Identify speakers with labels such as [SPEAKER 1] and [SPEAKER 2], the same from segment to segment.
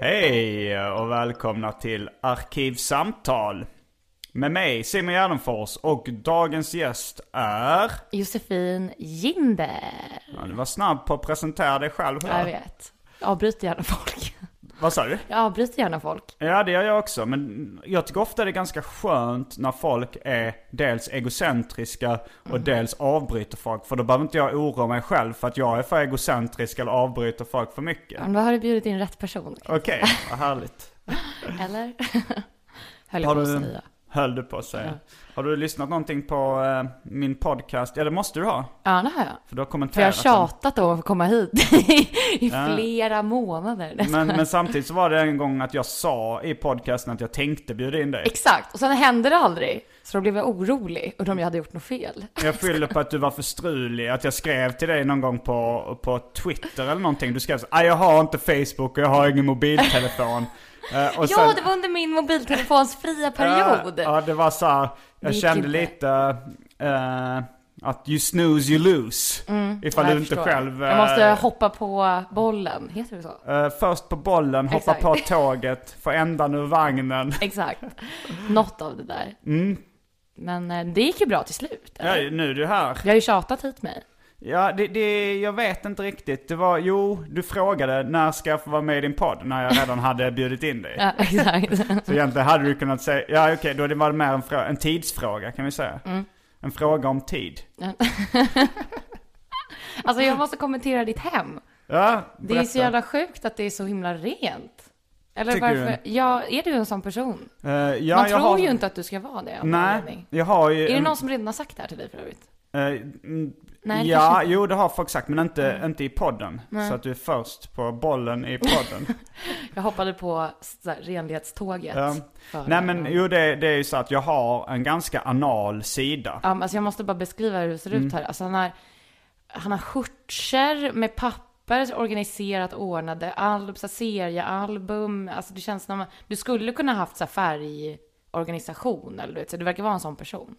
[SPEAKER 1] hej och välkomna till Arkivsamtal. Med mig Simon Gärdenfors och dagens gäst är...
[SPEAKER 2] Josefin Ginder.
[SPEAKER 1] Ja, du var snabb på att presentera dig själv.
[SPEAKER 2] Ja. Jag
[SPEAKER 1] Här.
[SPEAKER 2] vet. Avbryt gärna folk.
[SPEAKER 1] Vad sa du?
[SPEAKER 2] Jag avbryter gärna folk.
[SPEAKER 1] Ja, det gör jag också. Men jag tycker ofta det är ganska skönt när folk är dels egocentriska och dels avbryter folk. För då behöver inte jag oroa mig själv för att jag är för egocentrisk eller avbryter folk för mycket.
[SPEAKER 2] Men då har du bjudit in rätt person.
[SPEAKER 1] Okej, vad härligt.
[SPEAKER 2] Eller? Höll jag
[SPEAKER 1] Har
[SPEAKER 2] på att
[SPEAKER 1] du,
[SPEAKER 2] säga.
[SPEAKER 1] höll du på att säga. Har du lyssnat någonting på eh, min podcast? Eller måste du ha?
[SPEAKER 2] Ja, det har jag.
[SPEAKER 1] För du har
[SPEAKER 2] För jag har
[SPEAKER 1] kommenterat den.
[SPEAKER 2] tjatat om att få komma hit i flera månader. nästan.
[SPEAKER 1] Men, men samtidigt så var det en gång att jag sa i podcasten att jag tänkte bjuda in dig.
[SPEAKER 2] Exakt, och sen hände det aldrig. Så då blev jag orolig, undrade om jag hade gjort något fel.
[SPEAKER 1] Jag skyller på att du var för strulig, att jag skrev till dig någon gång på, på Twitter eller någonting. Du skrev så "Ah, jag har inte Facebook och jag har ingen mobiltelefon. Eh, och
[SPEAKER 2] Ja, det var under min mobiltelefons fria period.
[SPEAKER 1] Ja, ja, det var så här, jag
[SPEAKER 2] Det gick
[SPEAKER 1] kände
[SPEAKER 2] inte.
[SPEAKER 1] lite eh, att you snooze you lose. ifall
[SPEAKER 2] Mm, Ja,
[SPEAKER 1] du
[SPEAKER 2] jag
[SPEAKER 1] inte
[SPEAKER 2] förstår.
[SPEAKER 1] själv...
[SPEAKER 2] Jag måste
[SPEAKER 1] eh,
[SPEAKER 2] hoppa på bollen, heter det så?
[SPEAKER 1] eh, först på bollen, hoppa
[SPEAKER 2] Exakt.
[SPEAKER 1] på tåget, få ändan ur vagnen.
[SPEAKER 2] Exakt. Något av det där.
[SPEAKER 1] Mm.
[SPEAKER 2] Men eh, det gick ju bra till slut.
[SPEAKER 1] Ja,
[SPEAKER 2] eller?
[SPEAKER 1] nu är du här.
[SPEAKER 2] Jag har ju tjatat hit mig.
[SPEAKER 1] Ja, det, det, jag vet inte riktigt. Det var, jo, du frågade när ska jag få vara med i din podd? När jag redan hade bjudit in dig.
[SPEAKER 2] Ja, exakt.
[SPEAKER 1] Så egentligen hade du kunnat säga, ja okej, då det var det mer en, frå- en tidsfråga kan vi säga.
[SPEAKER 2] Mm.
[SPEAKER 1] En fråga om tid.
[SPEAKER 2] Alltså jag måste kommentera ditt hem.
[SPEAKER 1] Ja,
[SPEAKER 2] Det är så
[SPEAKER 1] berätta.
[SPEAKER 2] jävla sjukt att det är så himla rent. Eller
[SPEAKER 1] Tycker du?
[SPEAKER 2] varför? Ja, är du en sån person?
[SPEAKER 1] Eh, ja,
[SPEAKER 2] Man
[SPEAKER 1] jag
[SPEAKER 2] tror
[SPEAKER 1] har,
[SPEAKER 2] ju inte att du ska vara det. av någon
[SPEAKER 1] Nej, Mm.
[SPEAKER 2] anledning.
[SPEAKER 1] jag har ju...
[SPEAKER 2] Är det
[SPEAKER 1] en-
[SPEAKER 2] någon som redan har sagt det här till dig för övrigt?
[SPEAKER 1] eh, mm,
[SPEAKER 2] Nej, det
[SPEAKER 1] ja,
[SPEAKER 2] kanske inte. Mm.
[SPEAKER 1] jo det har folk sagt, men inte, inte i podden. Så att du är först på bollen i podden.
[SPEAKER 2] Jag hoppade på så här, renlighetståget.
[SPEAKER 1] Ja.
[SPEAKER 2] för-
[SPEAKER 1] Nej men jo det, det är ju så att jag har en ganska anal sida.
[SPEAKER 2] Ja, men alltså jag måste bara beskriva hur det ser
[SPEAKER 1] Mm.
[SPEAKER 2] ut här. Alltså han, har, han har skjortor med papper så organiserat ordnade, alb, så här seriealbum. Alltså det känns som du skulle kunna haft så här färgorganisation eller du vet, så du verkar vara en sån person.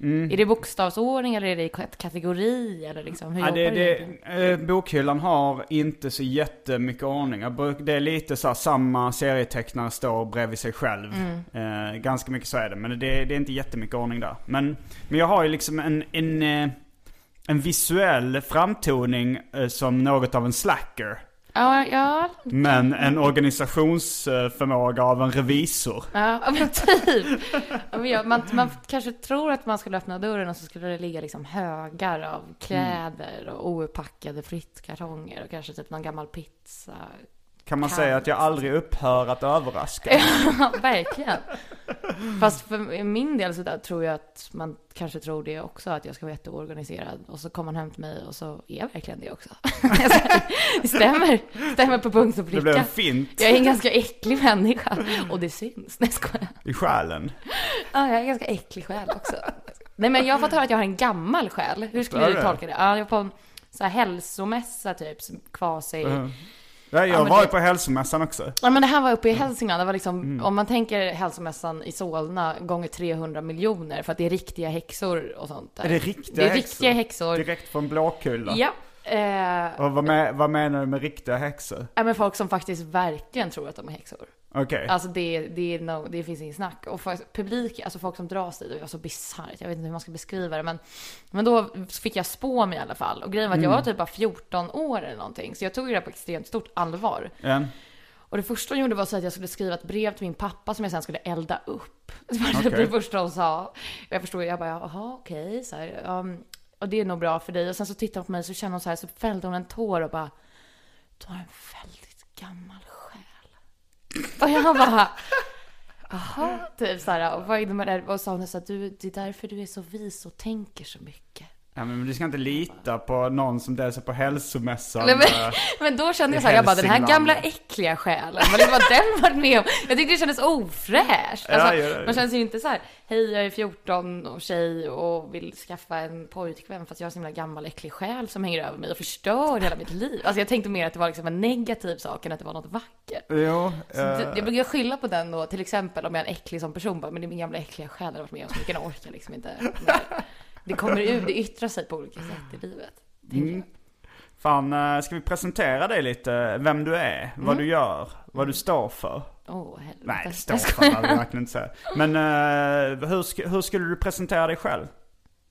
[SPEAKER 1] Mm.
[SPEAKER 2] Är det bokstavsordning eller är det i k- kategori eller liksom hur
[SPEAKER 1] Ja, det,
[SPEAKER 2] jobbar du?
[SPEAKER 1] det,
[SPEAKER 2] egentligen?
[SPEAKER 1] eh, bokhyllan har inte så jättemycket ordning. Jag bruk- Det är lite så här, samma serietecknare står bredvid sig själv.
[SPEAKER 2] Mm.
[SPEAKER 1] Eh, ganska mycket så är det, men det, det är inte jättemycket ordning där. Men, men jag har ju liksom en, en, eh, en visuell framtoning eh, som något av en slacker.
[SPEAKER 2] Ja, ja,
[SPEAKER 1] Men en organisationsförmåga av en revisor.
[SPEAKER 2] ja, ja, men typ. Ja, men jag- Man, man kanske tror att man skulle öppna dörren och så skulle det ligga liksom högar av kläder och outpackade flyttkartonger och kanske typ någon gammal pizza.
[SPEAKER 1] Kan man
[SPEAKER 2] Kan.
[SPEAKER 1] säga att jag aldrig upphör att överraska?
[SPEAKER 2] Ja, verkligen. Fast för min del så där tror jag att man kanske tror det också, att jag ska vara jätteorganiserad. Och så kommer han hem till mig och så är jag verkligen det också. det stämmer. Stämmer på punkt och
[SPEAKER 1] Det blev
[SPEAKER 2] pricka.
[SPEAKER 1] en fint
[SPEAKER 2] Jag är en ganska äcklig människa. Och det syns. Nej, jag skojar.
[SPEAKER 1] i själen.
[SPEAKER 2] Ja, jag är en ganska äcklig själ också. Nej, men jag har fått höra att jag har en gammal själ. Hur skulle
[SPEAKER 1] Har
[SPEAKER 2] du
[SPEAKER 1] du?
[SPEAKER 2] tolka det? Ja, jag var på en så här hälsomässa typ, som- kvasi.
[SPEAKER 1] Ja, jag
[SPEAKER 2] Ja, men
[SPEAKER 1] var ju
[SPEAKER 2] det-
[SPEAKER 1] på hälsomässan också.
[SPEAKER 2] Ja, men det här var uppe i Hälsingland. Det var liksom, Om man tänker hälsomässan i Solna gånger 300 miljoner för att det är riktiga häxor och sånt där.
[SPEAKER 1] Är det riktiga
[SPEAKER 2] Det är
[SPEAKER 1] häxor?
[SPEAKER 2] riktiga häxor.
[SPEAKER 1] Direkt från Blåkulla.
[SPEAKER 2] Ja. Eh,
[SPEAKER 1] Och vad, med, vad menar du med riktiga häxor?
[SPEAKER 2] ja, men folk som faktiskt verkligen tror att de är häxor.
[SPEAKER 1] Okej.
[SPEAKER 2] Alltså det, det, är no, det finns inget snack. Och folk, publik, alltså folk som dras dit, det var så bisarrt. Jag vet inte hur man ska beskriva det. Men, men då fick jag spå mig i alla fall. Och grejen var att jag var typ bara 14 år eller någonting. Så jag tog ju det här på extremt stort allvar.
[SPEAKER 1] Ja.
[SPEAKER 2] Och det första hon gjorde var så att jag skulle skriva ett brev till min pappa som jag sen skulle elda upp. Det var typ
[SPEAKER 1] Okej.
[SPEAKER 2] det första hon sa. Jag förstod, jag bara jaha okej så här. Um, och det är nog bra för dig. Och sen så tittade hon på mig så kände hon så här, så fällde hon en tår och bara Du har en väldigt gammal själ. Och jag bara Jaha, typ så här. Och vad innebär det? Och sa hon så att du, det är därför du är så vis och tänker så mycket.
[SPEAKER 1] ja men du ska inte lita på någon som deltar på hälsomässan.
[SPEAKER 2] Nej, men,
[SPEAKER 1] Eh,
[SPEAKER 2] men då kände jag
[SPEAKER 1] i
[SPEAKER 2] så här, jag bara den här
[SPEAKER 1] Hälsingland.
[SPEAKER 2] gamla äckliga själen, vad det var den varit med om? Jag tyckte det kändes ofräscht.
[SPEAKER 1] Ja,
[SPEAKER 2] Alltså,
[SPEAKER 1] ja, ja.
[SPEAKER 2] Man känns ju inte så här, hej jag är 14 och tjej och vill skaffa en pojkvän fast jag har en så himla gammal äcklig själ som hänger över mig och förstör hela mitt liv. Alltså jag tänkte mer att det var liksom en negativ sak än att det var något vackert.
[SPEAKER 1] Jo,
[SPEAKER 2] Så det-
[SPEAKER 1] eh,
[SPEAKER 2] Jag brukar skylla på den då, till exempel om jag är en äcklig som person, bara, men det är min gamla äckliga själ, den har varit med om så mycket, den orkar liksom inte. mer." Det kommer ut, det yttrar sig på olika sätt i livet. tänker
[SPEAKER 1] Mm.
[SPEAKER 2] jag.
[SPEAKER 1] fan eh, ska vi presentera dig lite? Vem du är, vad
[SPEAKER 2] Mm.
[SPEAKER 1] du gör, vad du står för?
[SPEAKER 2] Åh, helvete.
[SPEAKER 1] Nej, det står för jag vill verkligen inte säga. Men eh, hur, sk- hur skulle du presentera dig själv?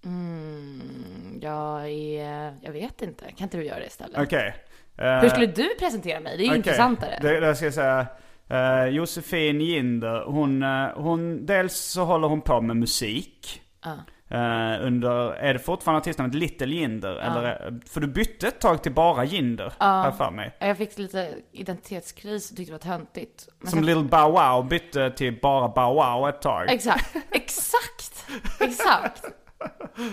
[SPEAKER 2] Mm, jag är... eh, Jag vet inte. Kan inte du göra det istället?
[SPEAKER 1] Okej. Eh,
[SPEAKER 2] Hur skulle du presentera mig? Det är ju
[SPEAKER 1] okej.
[SPEAKER 2] intressantare.
[SPEAKER 1] Det, det ska jag säga. Eh, Josefin Ginder, hon, eh, hon, dels så håller hon på med musik.
[SPEAKER 2] Ja.
[SPEAKER 1] Eh, under, är det fortfarande artistnamnet Little Jinder? Eller, är- för du bytte ett tag till bara Jinder, har jag för mig.
[SPEAKER 2] Jag fick lite identitetskris och tyckte det var töntigt. Men
[SPEAKER 1] Som
[SPEAKER 2] sen-
[SPEAKER 1] Little Bow Wow bytte till bara Bow Wow ett tag.
[SPEAKER 2] Exakt, exakt, exakt.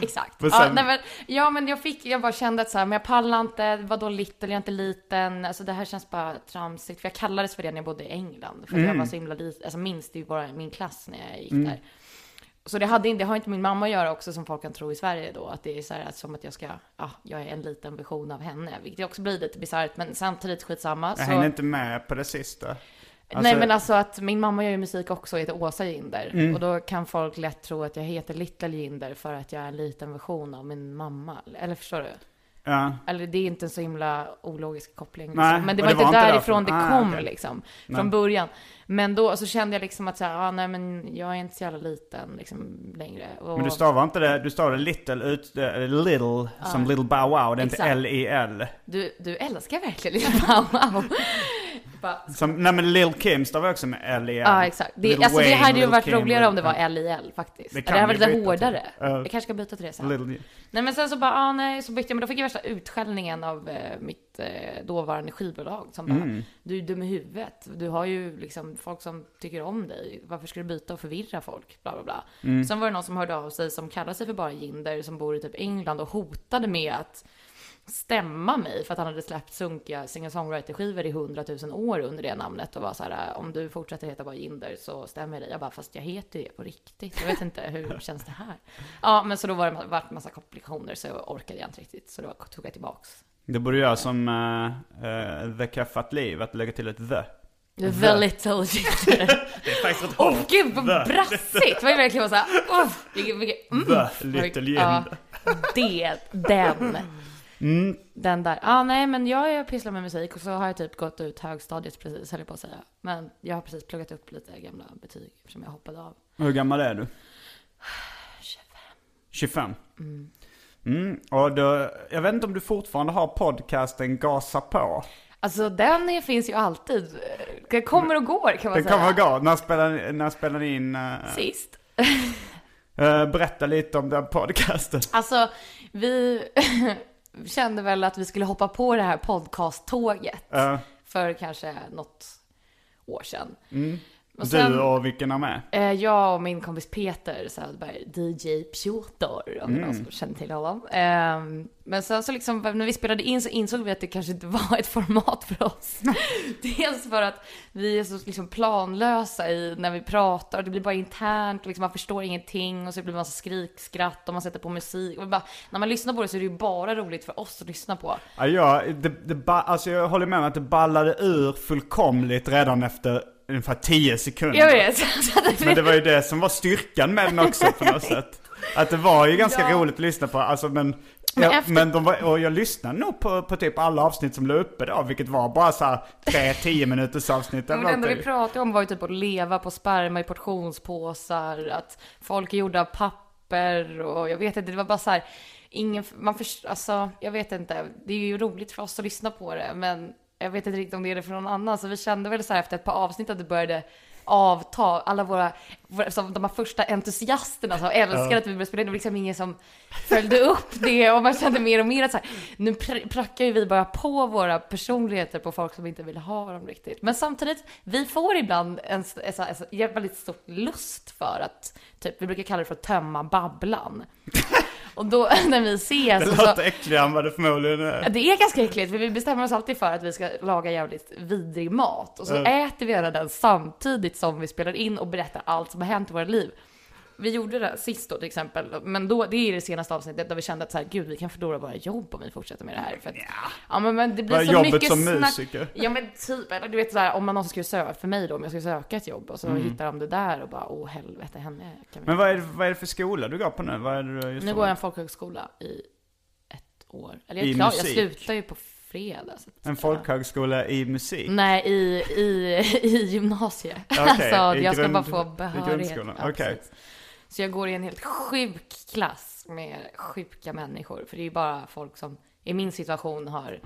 [SPEAKER 2] Exakt.
[SPEAKER 1] Men
[SPEAKER 2] ja,
[SPEAKER 1] sen-
[SPEAKER 2] nej, men, ja men jag fick, jag bara kände att så här, men jag pallar inte, vadå little, jag är inte liten, alltså det här känns bara tramsigt. För jag kallades för det när jag bodde i England, för att
[SPEAKER 1] Mm.
[SPEAKER 2] jag var så himla liten, alltså minst ju bara min klass när jag gick där. Så det, hade, inte- det har inte min mamma att göra också som folk kan tro i Sverige då, att det är så här att som att jag ska, ja, jag är en liten version av henne, vilket också blir lite bisarrt, men samtidigt skitsamma.
[SPEAKER 1] jag
[SPEAKER 2] så-
[SPEAKER 1] hängde inte med på det sista.
[SPEAKER 2] Nej
[SPEAKER 1] Alltså-
[SPEAKER 2] men alltså att min mamma gör ju musik också och heter Åsa Ginder.
[SPEAKER 1] Mm.
[SPEAKER 2] Och då kan folk lätt tro att jag heter Little Ginder för att jag är en liten version av min mamma. Eller förstår du?
[SPEAKER 1] Ja.
[SPEAKER 2] Eller det är inte en så himla ologisk koppling.
[SPEAKER 1] Nej,
[SPEAKER 2] liksom. Men det
[SPEAKER 1] och
[SPEAKER 2] var,
[SPEAKER 1] det var
[SPEAKER 2] inte
[SPEAKER 1] inte
[SPEAKER 2] därifrån det
[SPEAKER 1] därför. Ah,
[SPEAKER 2] kom
[SPEAKER 1] okej.
[SPEAKER 2] liksom. Från början. Men då så kände jag liksom att så här, ah, nej men jag är inte så jävla liten liksom längre. Och,
[SPEAKER 1] Men du stavar inte det, du stavar det little ut, eh, little som little bow wow, det är inte
[SPEAKER 2] Exakt.
[SPEAKER 1] L-I-L.
[SPEAKER 2] du, du älskar verkligen Lilla Mau Mau. Bara,
[SPEAKER 1] Som, nej men Lil Kim stavar också med L-I-L.
[SPEAKER 2] Ja, exakt. Det,
[SPEAKER 1] Lil
[SPEAKER 2] alltså, det
[SPEAKER 1] Wayne,
[SPEAKER 2] hade ju
[SPEAKER 1] Lil
[SPEAKER 2] varit
[SPEAKER 1] Kim,
[SPEAKER 2] roligare om det
[SPEAKER 1] Lil-
[SPEAKER 2] var LIL faktiskt.
[SPEAKER 1] Det
[SPEAKER 2] Det,
[SPEAKER 1] kan
[SPEAKER 2] hade
[SPEAKER 1] vi
[SPEAKER 2] varit lite
[SPEAKER 1] byta
[SPEAKER 2] hårdare.
[SPEAKER 1] till. Ja.
[SPEAKER 2] Jag kanske ska byta till det sen.
[SPEAKER 1] eh, Lil-
[SPEAKER 2] Nej men sen så bara, ah, nej, så bytte jag, men då fick jag värsta utskällningen av eh, mitt eh, dåvarande skivbolag som bara, du är dum i huvudet, du har ju liksom folk som tycker om dig, varför ska du byta och förvirra folk? Bla bla bla. Sen var det någon som hörde av sig som kallar sig för bara Jinder, som bor i typ England och hotade med att stämma mig för att han hade släppt sunkiga singer-songwriter-skivor i hundratusen år under det namnet och var så här, "Äh, om du fortsätter heta bara Jinder så stämmer det. Jag bara, fast jag heter ju det på riktigt. Jag vet inte, hur känns det här? Ja, men så då var det varit massa komplikationer så orkade jag inte riktigt, så då tog jag tillbaks.
[SPEAKER 1] Det borde jag som eh, eh, The Kaffat Liv, att lägga till ett the.
[SPEAKER 2] The little Jinder.
[SPEAKER 1] Det är faktiskt rätt
[SPEAKER 2] Åh
[SPEAKER 1] hårt.
[SPEAKER 2] gud vad
[SPEAKER 1] The.
[SPEAKER 2] brassigt! Det var ju verkligen bara såhär, oh, vilket, vilket, mm.
[SPEAKER 1] The Little
[SPEAKER 2] Ja,
[SPEAKER 1] Jinder.
[SPEAKER 2] det, den.
[SPEAKER 1] Mm.
[SPEAKER 2] Den där. Ja, nej, men jag, jag pysslar med musik och så har jag typ gått ut högstadiet precis, höll jag på att säga. Men jag har precis pluggat upp lite gamla betyg som jag hoppade av.
[SPEAKER 1] Hur gammal är du? 25. 25? Mm, och då, jag vet inte om du fortfarande har podcasten Gasa på?
[SPEAKER 2] Alltså den är, finns ju alltid. Det kommer och går kan man
[SPEAKER 1] Den
[SPEAKER 2] säga.
[SPEAKER 1] kommer gå. När spelar, när spelar ni in? eh,
[SPEAKER 2] Sist.
[SPEAKER 1] eh, berätta lite om den podcasten.
[SPEAKER 2] Alltså, vi kände väl att vi skulle hoppa på det här
[SPEAKER 1] Eh,
[SPEAKER 2] podcast-tåget
[SPEAKER 1] Ja.
[SPEAKER 2] för kanske något år sedan. Och sen,
[SPEAKER 1] Du och vilken är med?
[SPEAKER 2] eh, jag och min kompis Peter Söderberg, DJ Piotr, om det är någon som känner till honom. Eh, men sen så liksom, när vi spelade in så insåg vi att det kanske inte var ett format för oss. Dels för att vi är så liksom planlösa i när vi pratar, och det blir bara internt, liksom man förstår ingenting och så blir det massa skrikskratt och man sätter på musik. Och bara, när man lyssnar på det så är det ju bara roligt för oss att lyssna på.
[SPEAKER 1] Ja, jag, det, det ba, alltså jag håller med om att det ballade ur fullkomligt redan efter ungefär 10 sekunder.
[SPEAKER 2] Jag vet! Så att
[SPEAKER 1] Men det var ju det som var styrkan med den också på något sätt. Att det var ju ganska
[SPEAKER 2] Ja.
[SPEAKER 1] roligt att lyssna på, alltså men...
[SPEAKER 2] Men
[SPEAKER 1] Men,
[SPEAKER 2] efter-
[SPEAKER 1] men de var, och jag lyssnade nog på, på typ alla avsnitt som låg uppe då, vilket var bara såhär 3-10 minuters avsnitt
[SPEAKER 2] Ja,
[SPEAKER 1] eller
[SPEAKER 2] Men det enda
[SPEAKER 1] någonting.
[SPEAKER 2] vi pratade om var ju typ att leva på sperma i portionspåsar, att folk är gjorda av papper och jag vet inte, det var bara så här, ingen, man först, alltså jag vet inte, det är ju roligt för oss att lyssna på det, men jag vet inte riktigt om det är det för någon annan, så vi kände väl så här efter ett par avsnitt att det började avta, alla våra, våra som de här första entusiasterna som älskade att vi började spela in, det var liksom ingen som följde upp det och man kände mer och mer att så här, nu pr- prackar ju vi bara på våra personligheter på folk som inte vill ha dem riktigt. Men samtidigt, vi får ibland en, s- en, så här- en, så- en väldigt stor lust för att, typ, vi brukar kalla det för att tömma babblan. och då när vi ses
[SPEAKER 1] Det
[SPEAKER 2] och alltså, så,
[SPEAKER 1] låter äckligare än vad det förmodligen är.
[SPEAKER 2] det är ganska äckligt för vi bestämmer oss alltid för att vi ska laga jävligt vidrig mat och så äter vi gärna den samtidigt som vi spelar in och berättar allt som har hänt i våra liv. Vi gjorde det sist då till exempel, men då, det är det senaste avsnittet där vi kände att så här, gud vi kan förlora våra jobb om vi fortsätter med det här. För att, ja men, men det blir
[SPEAKER 1] Vad är
[SPEAKER 2] så
[SPEAKER 1] jobbet
[SPEAKER 2] mycket
[SPEAKER 1] som
[SPEAKER 2] snack.
[SPEAKER 1] musiker?
[SPEAKER 2] Ja men typ, eller du vet så här, om man någonsin skulle söka, för mig då, om jag skulle söka ett jobb och så hittar de det där och bara åh helvete henne kan vi
[SPEAKER 1] Mm. Men vad är, det- vad är det för skola du går på nu? Vad är det du just
[SPEAKER 2] nu går jag en folkhögskola i ett år. Eller jag, är
[SPEAKER 1] I
[SPEAKER 2] klar, jag
[SPEAKER 1] musik?
[SPEAKER 2] slutar ju på fredag. så att-
[SPEAKER 1] En folkhögskola i musik?
[SPEAKER 2] Nej, i, i, i gymnasiet.
[SPEAKER 1] Okej,
[SPEAKER 2] alltså,
[SPEAKER 1] i
[SPEAKER 2] jag ska
[SPEAKER 1] grund-
[SPEAKER 2] bara få
[SPEAKER 1] i
[SPEAKER 2] behörighet.
[SPEAKER 1] grundskolan,
[SPEAKER 2] Ja,
[SPEAKER 1] okej.
[SPEAKER 2] precis. Så jag går i en helt sjuk klass med sjuka människor. För det är ju bara folk som i min situation har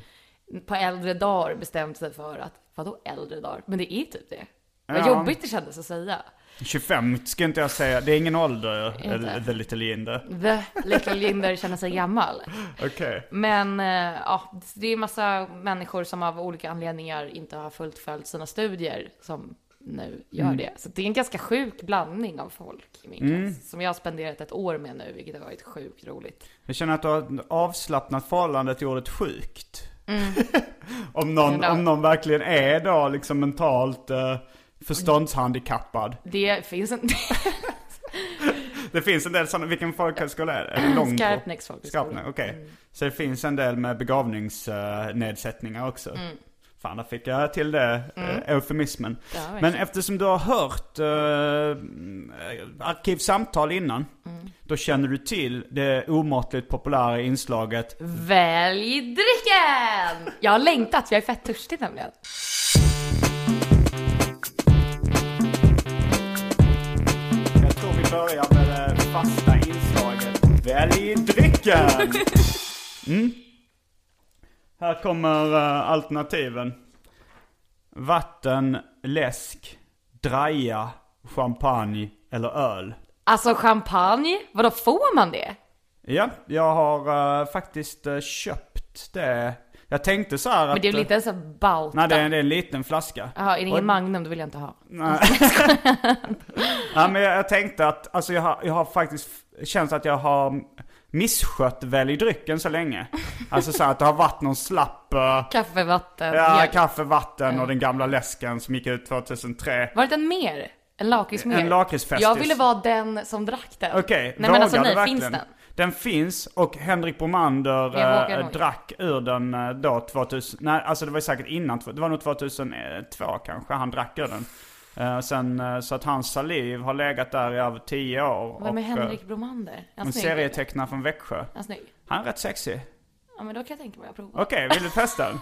[SPEAKER 2] på äldre dagar bestämt sig för att, vadå äldre dagar? Men det är typ det. Vad
[SPEAKER 1] Ja.
[SPEAKER 2] jobbigt det kändes att säga.
[SPEAKER 1] 25 ska inte jag säga, det är ingen ålder,
[SPEAKER 2] Inte. Mm.
[SPEAKER 1] eh, the little Linda.
[SPEAKER 2] The little Linder känner sig gammal.
[SPEAKER 1] Okej.
[SPEAKER 2] Men eh, ja, det är massa människor som av olika anledningar inte har fullt följt sina studier som nu gör
[SPEAKER 1] Mm.
[SPEAKER 2] det. Så det är en ganska sjuk blandning av folk i min klass som jag har spenderat ett år med nu, vilket har varit sjukt roligt.
[SPEAKER 1] Jag känner att du har ett avslappnat förhållande till ordet sjukt. om, någon,
[SPEAKER 2] Ja.
[SPEAKER 1] om någon verkligen är då liksom mentalt eh, förståndshandikappad.
[SPEAKER 2] Det finns en
[SPEAKER 1] Det finns en del sådana, vilken folkhögskola är det? Är det? Långbo?
[SPEAKER 2] Skarpnäcks folkhögskola. Mm.
[SPEAKER 1] Skarpnäck, okej. Så det finns en del med begåvningsnedsättningar också.
[SPEAKER 2] Mm.
[SPEAKER 1] Fan, där fick jag till det, mm. eufemismen.
[SPEAKER 2] Ja, verkligen.
[SPEAKER 1] Men eftersom du har hört eh, arkivsamtal innan,
[SPEAKER 2] Mm.
[SPEAKER 1] då känner du till det omåttligt populära inslaget
[SPEAKER 2] Välj drycken! Jag har längtat, jag är fett törstig nämligen.
[SPEAKER 1] Jag tror vi börjar med det fasta inslaget. Välj drycken! Mm. Här kommer eh, alternativen. Vatten, läsk, draja, champagne eller öl.
[SPEAKER 2] Alltså champagne, vadå får man det?
[SPEAKER 1] Ja, jag har eh, faktiskt eh, köpt det. Jag tänkte så här att... eh,
[SPEAKER 2] Men det är väl inte ens en bauta?
[SPEAKER 1] Nej, det är, det är en liten flaska.
[SPEAKER 2] Jaha, är det ingen
[SPEAKER 1] Och-
[SPEAKER 2] Magnum då vill jag inte ha.
[SPEAKER 1] Ja, men jag, jag tänkte att, alltså jag har, jag har faktiskt f- känt att jag har misskött väl i drycken så länge. Alltså så här att det har varit någon slapp, eh,
[SPEAKER 2] Kaffe, vatten,
[SPEAKER 1] ja,
[SPEAKER 2] mjölk.
[SPEAKER 1] kaffe, vatten och den gamla läsken som gick ut 2003.
[SPEAKER 2] Var det en mer? En lakrits mer?
[SPEAKER 1] En lakritsfestis.
[SPEAKER 2] Jag ville vara den som drack den.
[SPEAKER 1] Okej,
[SPEAKER 2] Nej men alltså
[SPEAKER 1] vågar du
[SPEAKER 2] nej,
[SPEAKER 1] verkligen?
[SPEAKER 2] finns den?
[SPEAKER 1] Den finns och Henrik Bromander
[SPEAKER 2] Jag vågar
[SPEAKER 1] eh,
[SPEAKER 2] nog.
[SPEAKER 1] drack ur den eh, då 2000, nej alltså det var ju säkert innan, det var nog 2002 kanske han drack ur den. Eh, sen, eh, så att hans saliv har legat där i över 10 år.
[SPEAKER 2] Vem är
[SPEAKER 1] och,
[SPEAKER 2] Henrik
[SPEAKER 1] eh,
[SPEAKER 2] Bromander? Är han
[SPEAKER 1] En
[SPEAKER 2] snygg?
[SPEAKER 1] serietecknare från Växjö.
[SPEAKER 2] Är han snygg?
[SPEAKER 1] Han är rätt sexig.
[SPEAKER 2] Ja men då kan jag tänka mig att prova.
[SPEAKER 1] Okej, vill du testa den?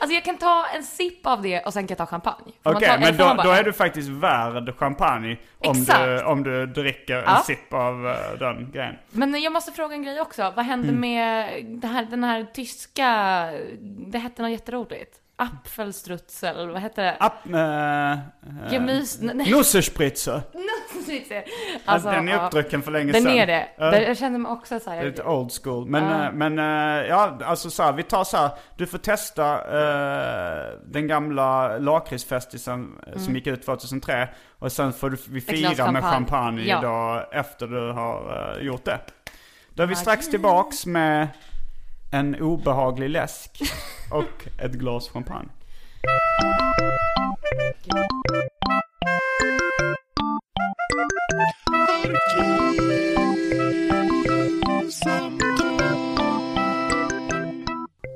[SPEAKER 2] Alltså jag kan ta en sipp av det och sen kan jag ta champagne. Får man
[SPEAKER 1] Okej,
[SPEAKER 2] ta- eller
[SPEAKER 1] men
[SPEAKER 2] får man
[SPEAKER 1] då,
[SPEAKER 2] bara-
[SPEAKER 1] då är du faktiskt värd champagne om du,
[SPEAKER 2] Exakt.
[SPEAKER 1] om du dricker en
[SPEAKER 2] Ja.
[SPEAKER 1] sipp av eh, den grejen.
[SPEAKER 2] Men jag måste fråga en grej också. Vad hände
[SPEAKER 1] Mm.
[SPEAKER 2] med det här, den här tyska, det hette något jätteroligt. Apfelstrutzel, vad hette det?
[SPEAKER 1] App... Eh, eh,
[SPEAKER 2] Gemys... Nej,
[SPEAKER 1] Nusserspritzer!
[SPEAKER 2] snitsig.
[SPEAKER 1] Alltså, den är uppdrucken för länge
[SPEAKER 2] Den
[SPEAKER 1] sedan.
[SPEAKER 2] är det.
[SPEAKER 1] Ja.
[SPEAKER 2] Där- Jag kände mig också så
[SPEAKER 1] Det är
[SPEAKER 2] här.
[SPEAKER 1] lite old school. Men, eh, men eh, ja, alltså så här, vi tar så här, du får testa eh, den gamla lakritsfestisen eh, som gick ut 2003. Och sen får du, vi fira
[SPEAKER 2] Mm. glas
[SPEAKER 1] med
[SPEAKER 2] champagne.
[SPEAKER 1] champagne
[SPEAKER 2] Ja.
[SPEAKER 1] idag efter du har eh, gjort det. Då är vi strax tillbaks med en obehaglig läsk och ett glas champagne.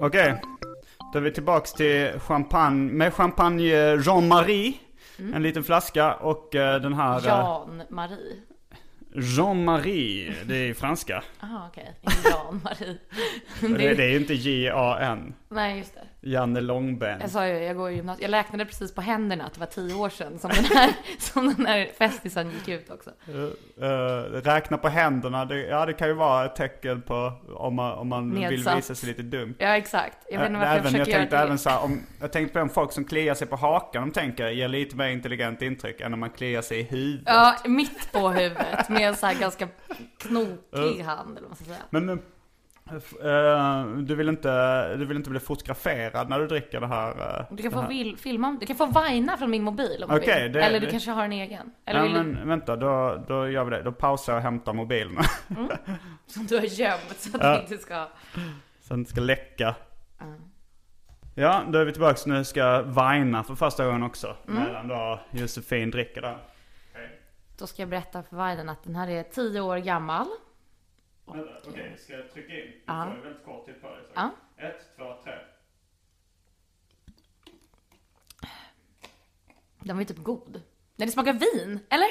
[SPEAKER 1] Okej, då är vi tillbaks till champagne med champagne Jean-Marie. En liten flaska och eh, den här... eh,
[SPEAKER 2] Jan-Marie.
[SPEAKER 1] Jean-Marie, det är franska.
[SPEAKER 2] Jaha, okej. Inte Jan-Marie.
[SPEAKER 1] Det, det
[SPEAKER 2] det...
[SPEAKER 1] är ju inte J-A-N.
[SPEAKER 2] Nej, just det.
[SPEAKER 1] Janne Långben.
[SPEAKER 2] Jag sa ju, jag går i gymnasiet. Jag räknade precis på händerna att det var tio år sedan som den här, som den här festisen gick ut också.
[SPEAKER 1] Eh, räkna på händerna, det, ja det kan ju vara ett tecken på om man, om man vill
[SPEAKER 2] Nedsatt.
[SPEAKER 1] visa sig lite dum.
[SPEAKER 2] Ja, exakt. Jag vet
[SPEAKER 1] Eh,
[SPEAKER 2] inte varför jag
[SPEAKER 1] även, jag
[SPEAKER 2] försöker
[SPEAKER 1] tänkte
[SPEAKER 2] göra det.
[SPEAKER 1] även så här, om, jag tänkte på om folk som kliar sig på hakan de tänker ger lite mer intelligent intryck än om man kliar sig i huvudet.
[SPEAKER 2] Ja, mitt på huvudet med en så här ganska knokig hand eller vad man ska säga.
[SPEAKER 1] Men, men eh, du, vill inte, du vill inte bli fotograferad när du dricker det här? eh,
[SPEAKER 2] Du
[SPEAKER 1] det
[SPEAKER 2] kan få
[SPEAKER 1] här.
[SPEAKER 2] vil- filma, du kan få vajna från min mobil om du
[SPEAKER 1] Okej,
[SPEAKER 2] vill.
[SPEAKER 1] det-
[SPEAKER 2] Eller
[SPEAKER 1] det-
[SPEAKER 2] du kanske har en egen. Eller
[SPEAKER 1] Nej
[SPEAKER 2] vill du,
[SPEAKER 1] men vänta, då, då gör vi det. Då pausar jag och hämtar mobilen.
[SPEAKER 2] som du har gömt så att du inte ska...
[SPEAKER 1] Sen ska läcka. Ja, då är vi tillbaka nu ska vina för första gången också.
[SPEAKER 2] Mm.
[SPEAKER 1] Medan då Josefin dricker där.
[SPEAKER 2] Då ska jag berätta för vajden att den här är tio år gammal.
[SPEAKER 1] Okej, ska jag trycka in? Du
[SPEAKER 2] Ja.
[SPEAKER 1] får väldigt kort tid på dig.
[SPEAKER 2] Ja.
[SPEAKER 1] Ett, två, tre.
[SPEAKER 2] Den var ju typ god. Nej, det smakar vin, eller?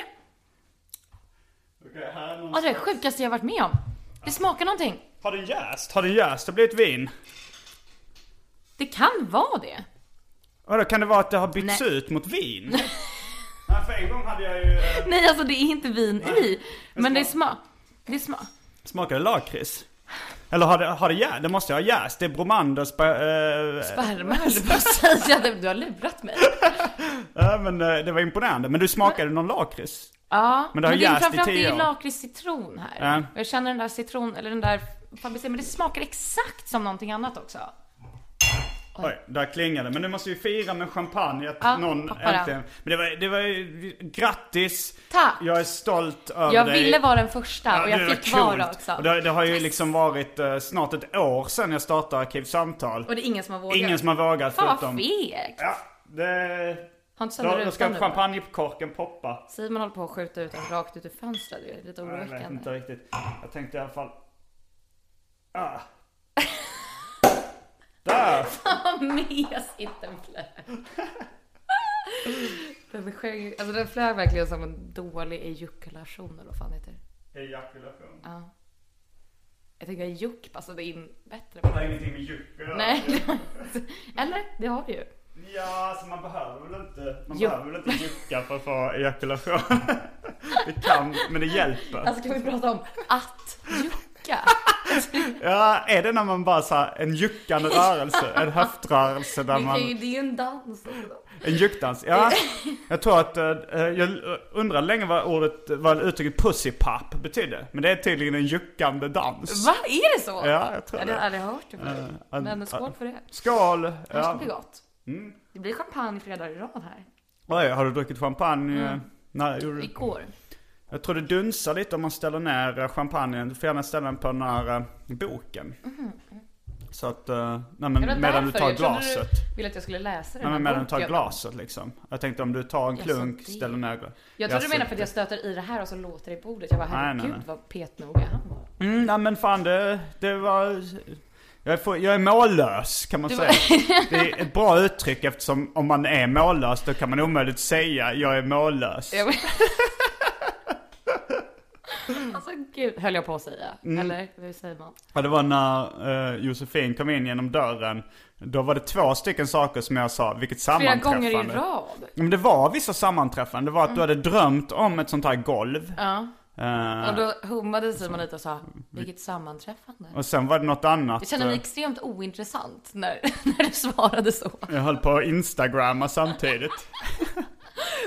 [SPEAKER 1] Okej, här är någon...
[SPEAKER 2] Ja, Alltså, det är det sjukaste jag varit med om. Det smakar någonting.
[SPEAKER 1] Har det jäst? Har det jäst? Det blir ett vin.
[SPEAKER 2] Det kan vara det.
[SPEAKER 1] Vadå, kan det vara att det har bytts
[SPEAKER 2] Nej.
[SPEAKER 1] ut mot vin? Nej, för en gång hade jag ju... Eh,
[SPEAKER 2] Nej, alltså det är inte vin i. Men det är smak. Det är smak.
[SPEAKER 1] smakade lakrits. Eller har det, har det jäst? Det måste jag ha jäst. Det är Bromanders... Äh,
[SPEAKER 2] Sperma höll du på att säga. Du har lurat mig.
[SPEAKER 1] äh, men eh, det var imponerande. Men du smakade någon lakrits?
[SPEAKER 2] Ja,
[SPEAKER 1] Men det har
[SPEAKER 2] är ju
[SPEAKER 1] jäst i
[SPEAKER 2] framförallt det
[SPEAKER 1] tio
[SPEAKER 2] är ju
[SPEAKER 1] år.
[SPEAKER 2] lakrits-citron här.
[SPEAKER 1] Ja.
[SPEAKER 2] Och Jag känner den där citron, eller den där fabrice, men det smakar exakt som någonting annat också.
[SPEAKER 1] Oj, där klingade det. Men du måste ju fira med champagne att
[SPEAKER 2] Ja,
[SPEAKER 1] någon
[SPEAKER 2] hoppar den.
[SPEAKER 1] äntligen... Men det var, det var ju... Grattis!
[SPEAKER 2] Tack!
[SPEAKER 1] Jag är stolt över
[SPEAKER 2] Jag
[SPEAKER 1] dig.
[SPEAKER 2] ville vara den första
[SPEAKER 1] Ja,
[SPEAKER 2] och
[SPEAKER 1] det
[SPEAKER 2] jag
[SPEAKER 1] var
[SPEAKER 2] fick vara
[SPEAKER 1] coolt.
[SPEAKER 2] också.
[SPEAKER 1] Och det, det har ju liksom varit eh, snart ett år sedan jag startade Arkivsamtal.
[SPEAKER 2] Och det är ingen som har vågat.
[SPEAKER 1] Ingen som har vågat
[SPEAKER 2] Fan vad
[SPEAKER 1] förutom...
[SPEAKER 2] fegt!
[SPEAKER 1] Ja, det...
[SPEAKER 2] Har inte sönder
[SPEAKER 1] Då, då
[SPEAKER 2] rutan
[SPEAKER 1] ska
[SPEAKER 2] nu? va?
[SPEAKER 1] champagnekorken poppa.
[SPEAKER 2] Simon håller på att skjuta ut den rakt ut ur fönstret. Det är lite
[SPEAKER 1] Jag vet inte
[SPEAKER 2] oroväckande.
[SPEAKER 1] riktigt. Jag tänkte i alla fall... Ah. Där!
[SPEAKER 2] Vad mesigt den flög. Den, sjöng, alltså den flög verkligen som en dålig ejakulation eller vad fan heter det?
[SPEAKER 1] Ejakulation.
[SPEAKER 2] Ja. Jag tycker att juck passade in bättre.
[SPEAKER 1] Det har ingenting med djup att göra.
[SPEAKER 2] Nej. Eller? Det har du ju.
[SPEAKER 1] Ja, alltså man behöver väl inte, man
[SPEAKER 2] Jo.
[SPEAKER 1] behöver väl inte jucka för att få ejakulation. Det kan, men det hjälper.
[SPEAKER 2] Alltså kan vi prata om att jucka?
[SPEAKER 1] Ja, är det när man bara så här, en juckande rörelse, en höftrörelse där
[SPEAKER 2] Det är ju
[SPEAKER 1] man,
[SPEAKER 2] det är ju en dans. också.
[SPEAKER 1] en juckdans? Ja, jag tror att, eh, jag undrar länge vad ordet, vad uttrycket pussypap betydde. Men det är tydligen en juckande dans.
[SPEAKER 2] Va? Är det så?
[SPEAKER 1] Ja, jag tror
[SPEAKER 2] det har jag
[SPEAKER 1] det.
[SPEAKER 2] aldrig hört det förut.
[SPEAKER 1] an-
[SPEAKER 2] Men skål för det.
[SPEAKER 1] Skål!
[SPEAKER 2] Det ska
[SPEAKER 1] Ja. Mm.
[SPEAKER 2] bli gott. Det blir champagne flera dagar i rad här.
[SPEAKER 1] Oj, har du druckit
[SPEAKER 2] Mm.
[SPEAKER 1] champagne? Nej, gjorde du?
[SPEAKER 2] Igår.
[SPEAKER 1] Jag tror det dunsar lite om man ställer ner eh, champagnen. Du får gärna ställa den på den här eh, boken. Så att, eh, nej
[SPEAKER 2] Mhm. Det var
[SPEAKER 1] men medan du
[SPEAKER 2] därför.
[SPEAKER 1] tar
[SPEAKER 2] Jag trodde
[SPEAKER 1] glaset.
[SPEAKER 2] Du ville att jag skulle läsa den
[SPEAKER 1] Nej
[SPEAKER 2] här
[SPEAKER 1] men medan du tar
[SPEAKER 2] boken.
[SPEAKER 1] glaset liksom. Jag tänkte om du tar en
[SPEAKER 2] Jaså,
[SPEAKER 1] klunk,
[SPEAKER 2] det.
[SPEAKER 1] ställer ner glaset.
[SPEAKER 2] Jag trodde du menade för att jag stöter i det här och så låter det i bordet. Jag var
[SPEAKER 1] Nej, nej,
[SPEAKER 2] herregud
[SPEAKER 1] nej.
[SPEAKER 2] vad petnoga han var.
[SPEAKER 1] Mm, nej men fan det, det var... Jag är, få- jag är mållös kan man säga. Det är ett bra uttryck eftersom om man är mållös då kan man omöjligt säga jag är mållös.
[SPEAKER 2] Jag- Alltså gud, höll jag på att säga.
[SPEAKER 1] Mm.
[SPEAKER 2] Eller hur säger man?
[SPEAKER 1] Ja, det var när eh, Josefin kom in genom dörren. Då var det två stycken saker som jag sa, vilket
[SPEAKER 2] Flera
[SPEAKER 1] sammanträffande.
[SPEAKER 2] gånger i rad. Mm.
[SPEAKER 1] Ja, Men det var vissa sammanträffanden. Det var att du hade drömt om ett sånt här golv.
[SPEAKER 2] Ja.
[SPEAKER 1] Eh,
[SPEAKER 2] Och då hummade Simon lite och sa, vilket sammanträffande.
[SPEAKER 1] Mm. och sen var det något annat.
[SPEAKER 2] Jag kände mig
[SPEAKER 1] eh,
[SPEAKER 2] extremt ointressant när, när du svarade så.
[SPEAKER 1] jag höll på att instagramma samtidigt.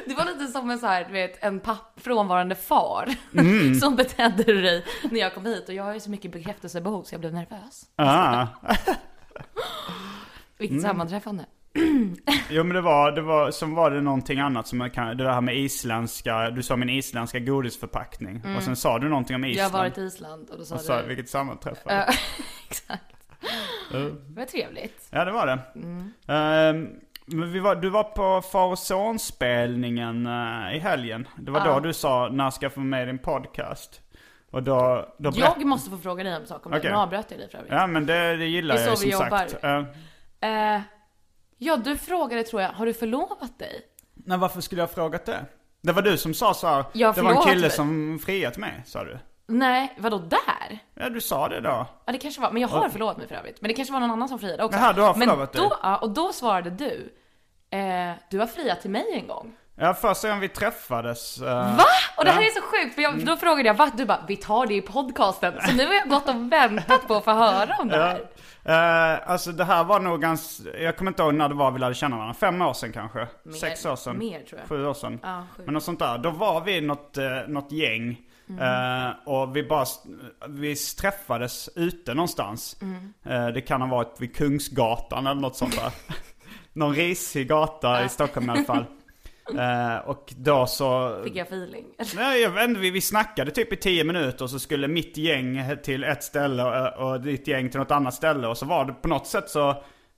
[SPEAKER 2] Det var lite som en så här, du vet, en papp, frånvarande far
[SPEAKER 1] Mm.
[SPEAKER 2] som betedde dig när jag kom hit. Och jag har ju så mycket bekräftelsebehov så jag blev nervös.
[SPEAKER 1] Ah.
[SPEAKER 2] Vilket
[SPEAKER 1] Mm.
[SPEAKER 2] sammanträffande.
[SPEAKER 1] Jo men det var, det var, som var det någonting annat som jag kan, det här med isländska, du sa min isländska godisförpackning. Och sen sa du någonting om
[SPEAKER 2] Mm. Jag har
[SPEAKER 1] Island.
[SPEAKER 2] varit i Island och då sa
[SPEAKER 1] och sa,
[SPEAKER 2] du...
[SPEAKER 1] vilket sammanträffande.
[SPEAKER 2] Ja, Exakt. Det var trevligt.
[SPEAKER 1] Ja det var det. Ehm, men vi var, du var på far och son-spelningen eh, i helgen. Det var då du sa när ska jag få med din podcast? Och då... då berätt-
[SPEAKER 2] Jag måste få fråga dig om saker om
[SPEAKER 1] Okej.
[SPEAKER 2] det. Nu avbröt jag dig för övrigt.
[SPEAKER 1] Ja men det, det gillar
[SPEAKER 2] Det är
[SPEAKER 1] jag
[SPEAKER 2] så
[SPEAKER 1] som
[SPEAKER 2] vi
[SPEAKER 1] sagt.
[SPEAKER 2] jobbar.
[SPEAKER 1] Eh,
[SPEAKER 2] Eh, ja, du frågade tror jag, har du förlovat dig?
[SPEAKER 1] nej varför skulle jag ha frågat det? Det var du som sa så här,
[SPEAKER 2] Jag har
[SPEAKER 1] det var en
[SPEAKER 2] förlovat
[SPEAKER 1] kille
[SPEAKER 2] mig.
[SPEAKER 1] som friat mig, sa du.
[SPEAKER 2] Nej, vadå där?
[SPEAKER 1] Ja du sa det då.
[SPEAKER 2] Ja det kanske var, men jag har förlovat mig för övrigt. Men det kanske var någon annan som friade också.
[SPEAKER 1] Jaha, du har
[SPEAKER 2] men
[SPEAKER 1] förlovat dig.
[SPEAKER 2] då, ja, och då svarade du, eh, du har friat till mig en gång.
[SPEAKER 1] Ja första gången vi träffades. eh,
[SPEAKER 2] Va? Och det här
[SPEAKER 1] Ja. Mm.
[SPEAKER 2] är så sjukt, för jag, då frågade jag va? Du bara, vi tar det i podcasten. Så nu har jag gått och väntat på att få höra om det här.
[SPEAKER 1] Eh, alltså det här var nog ganska, jag kommer inte ihåg när det var vi lärde känna varandra. Fem år sedan kanske? Sex år sedan?
[SPEAKER 2] mer, tror jag.
[SPEAKER 1] Sju år sedan?
[SPEAKER 2] Ja, sju. Mm.
[SPEAKER 1] Men något sånt där. Då var vi något, eh, något gäng. eh, och vi bara, s- vi träffades ute någonstans.
[SPEAKER 2] Mm.
[SPEAKER 1] Eh, det kan ha varit vid Kungsgatan eller något sånt där. Någon risig gata i Stockholm i alla fall. Eh, och då så...
[SPEAKER 2] Fick jag feeling.
[SPEAKER 1] Nej, jag vet inte, vi, vi snackade typ i tio minuter och så skulle mitt gäng till ett ställe och, och ditt gäng till något annat ställe. Och så var det på något sätt så,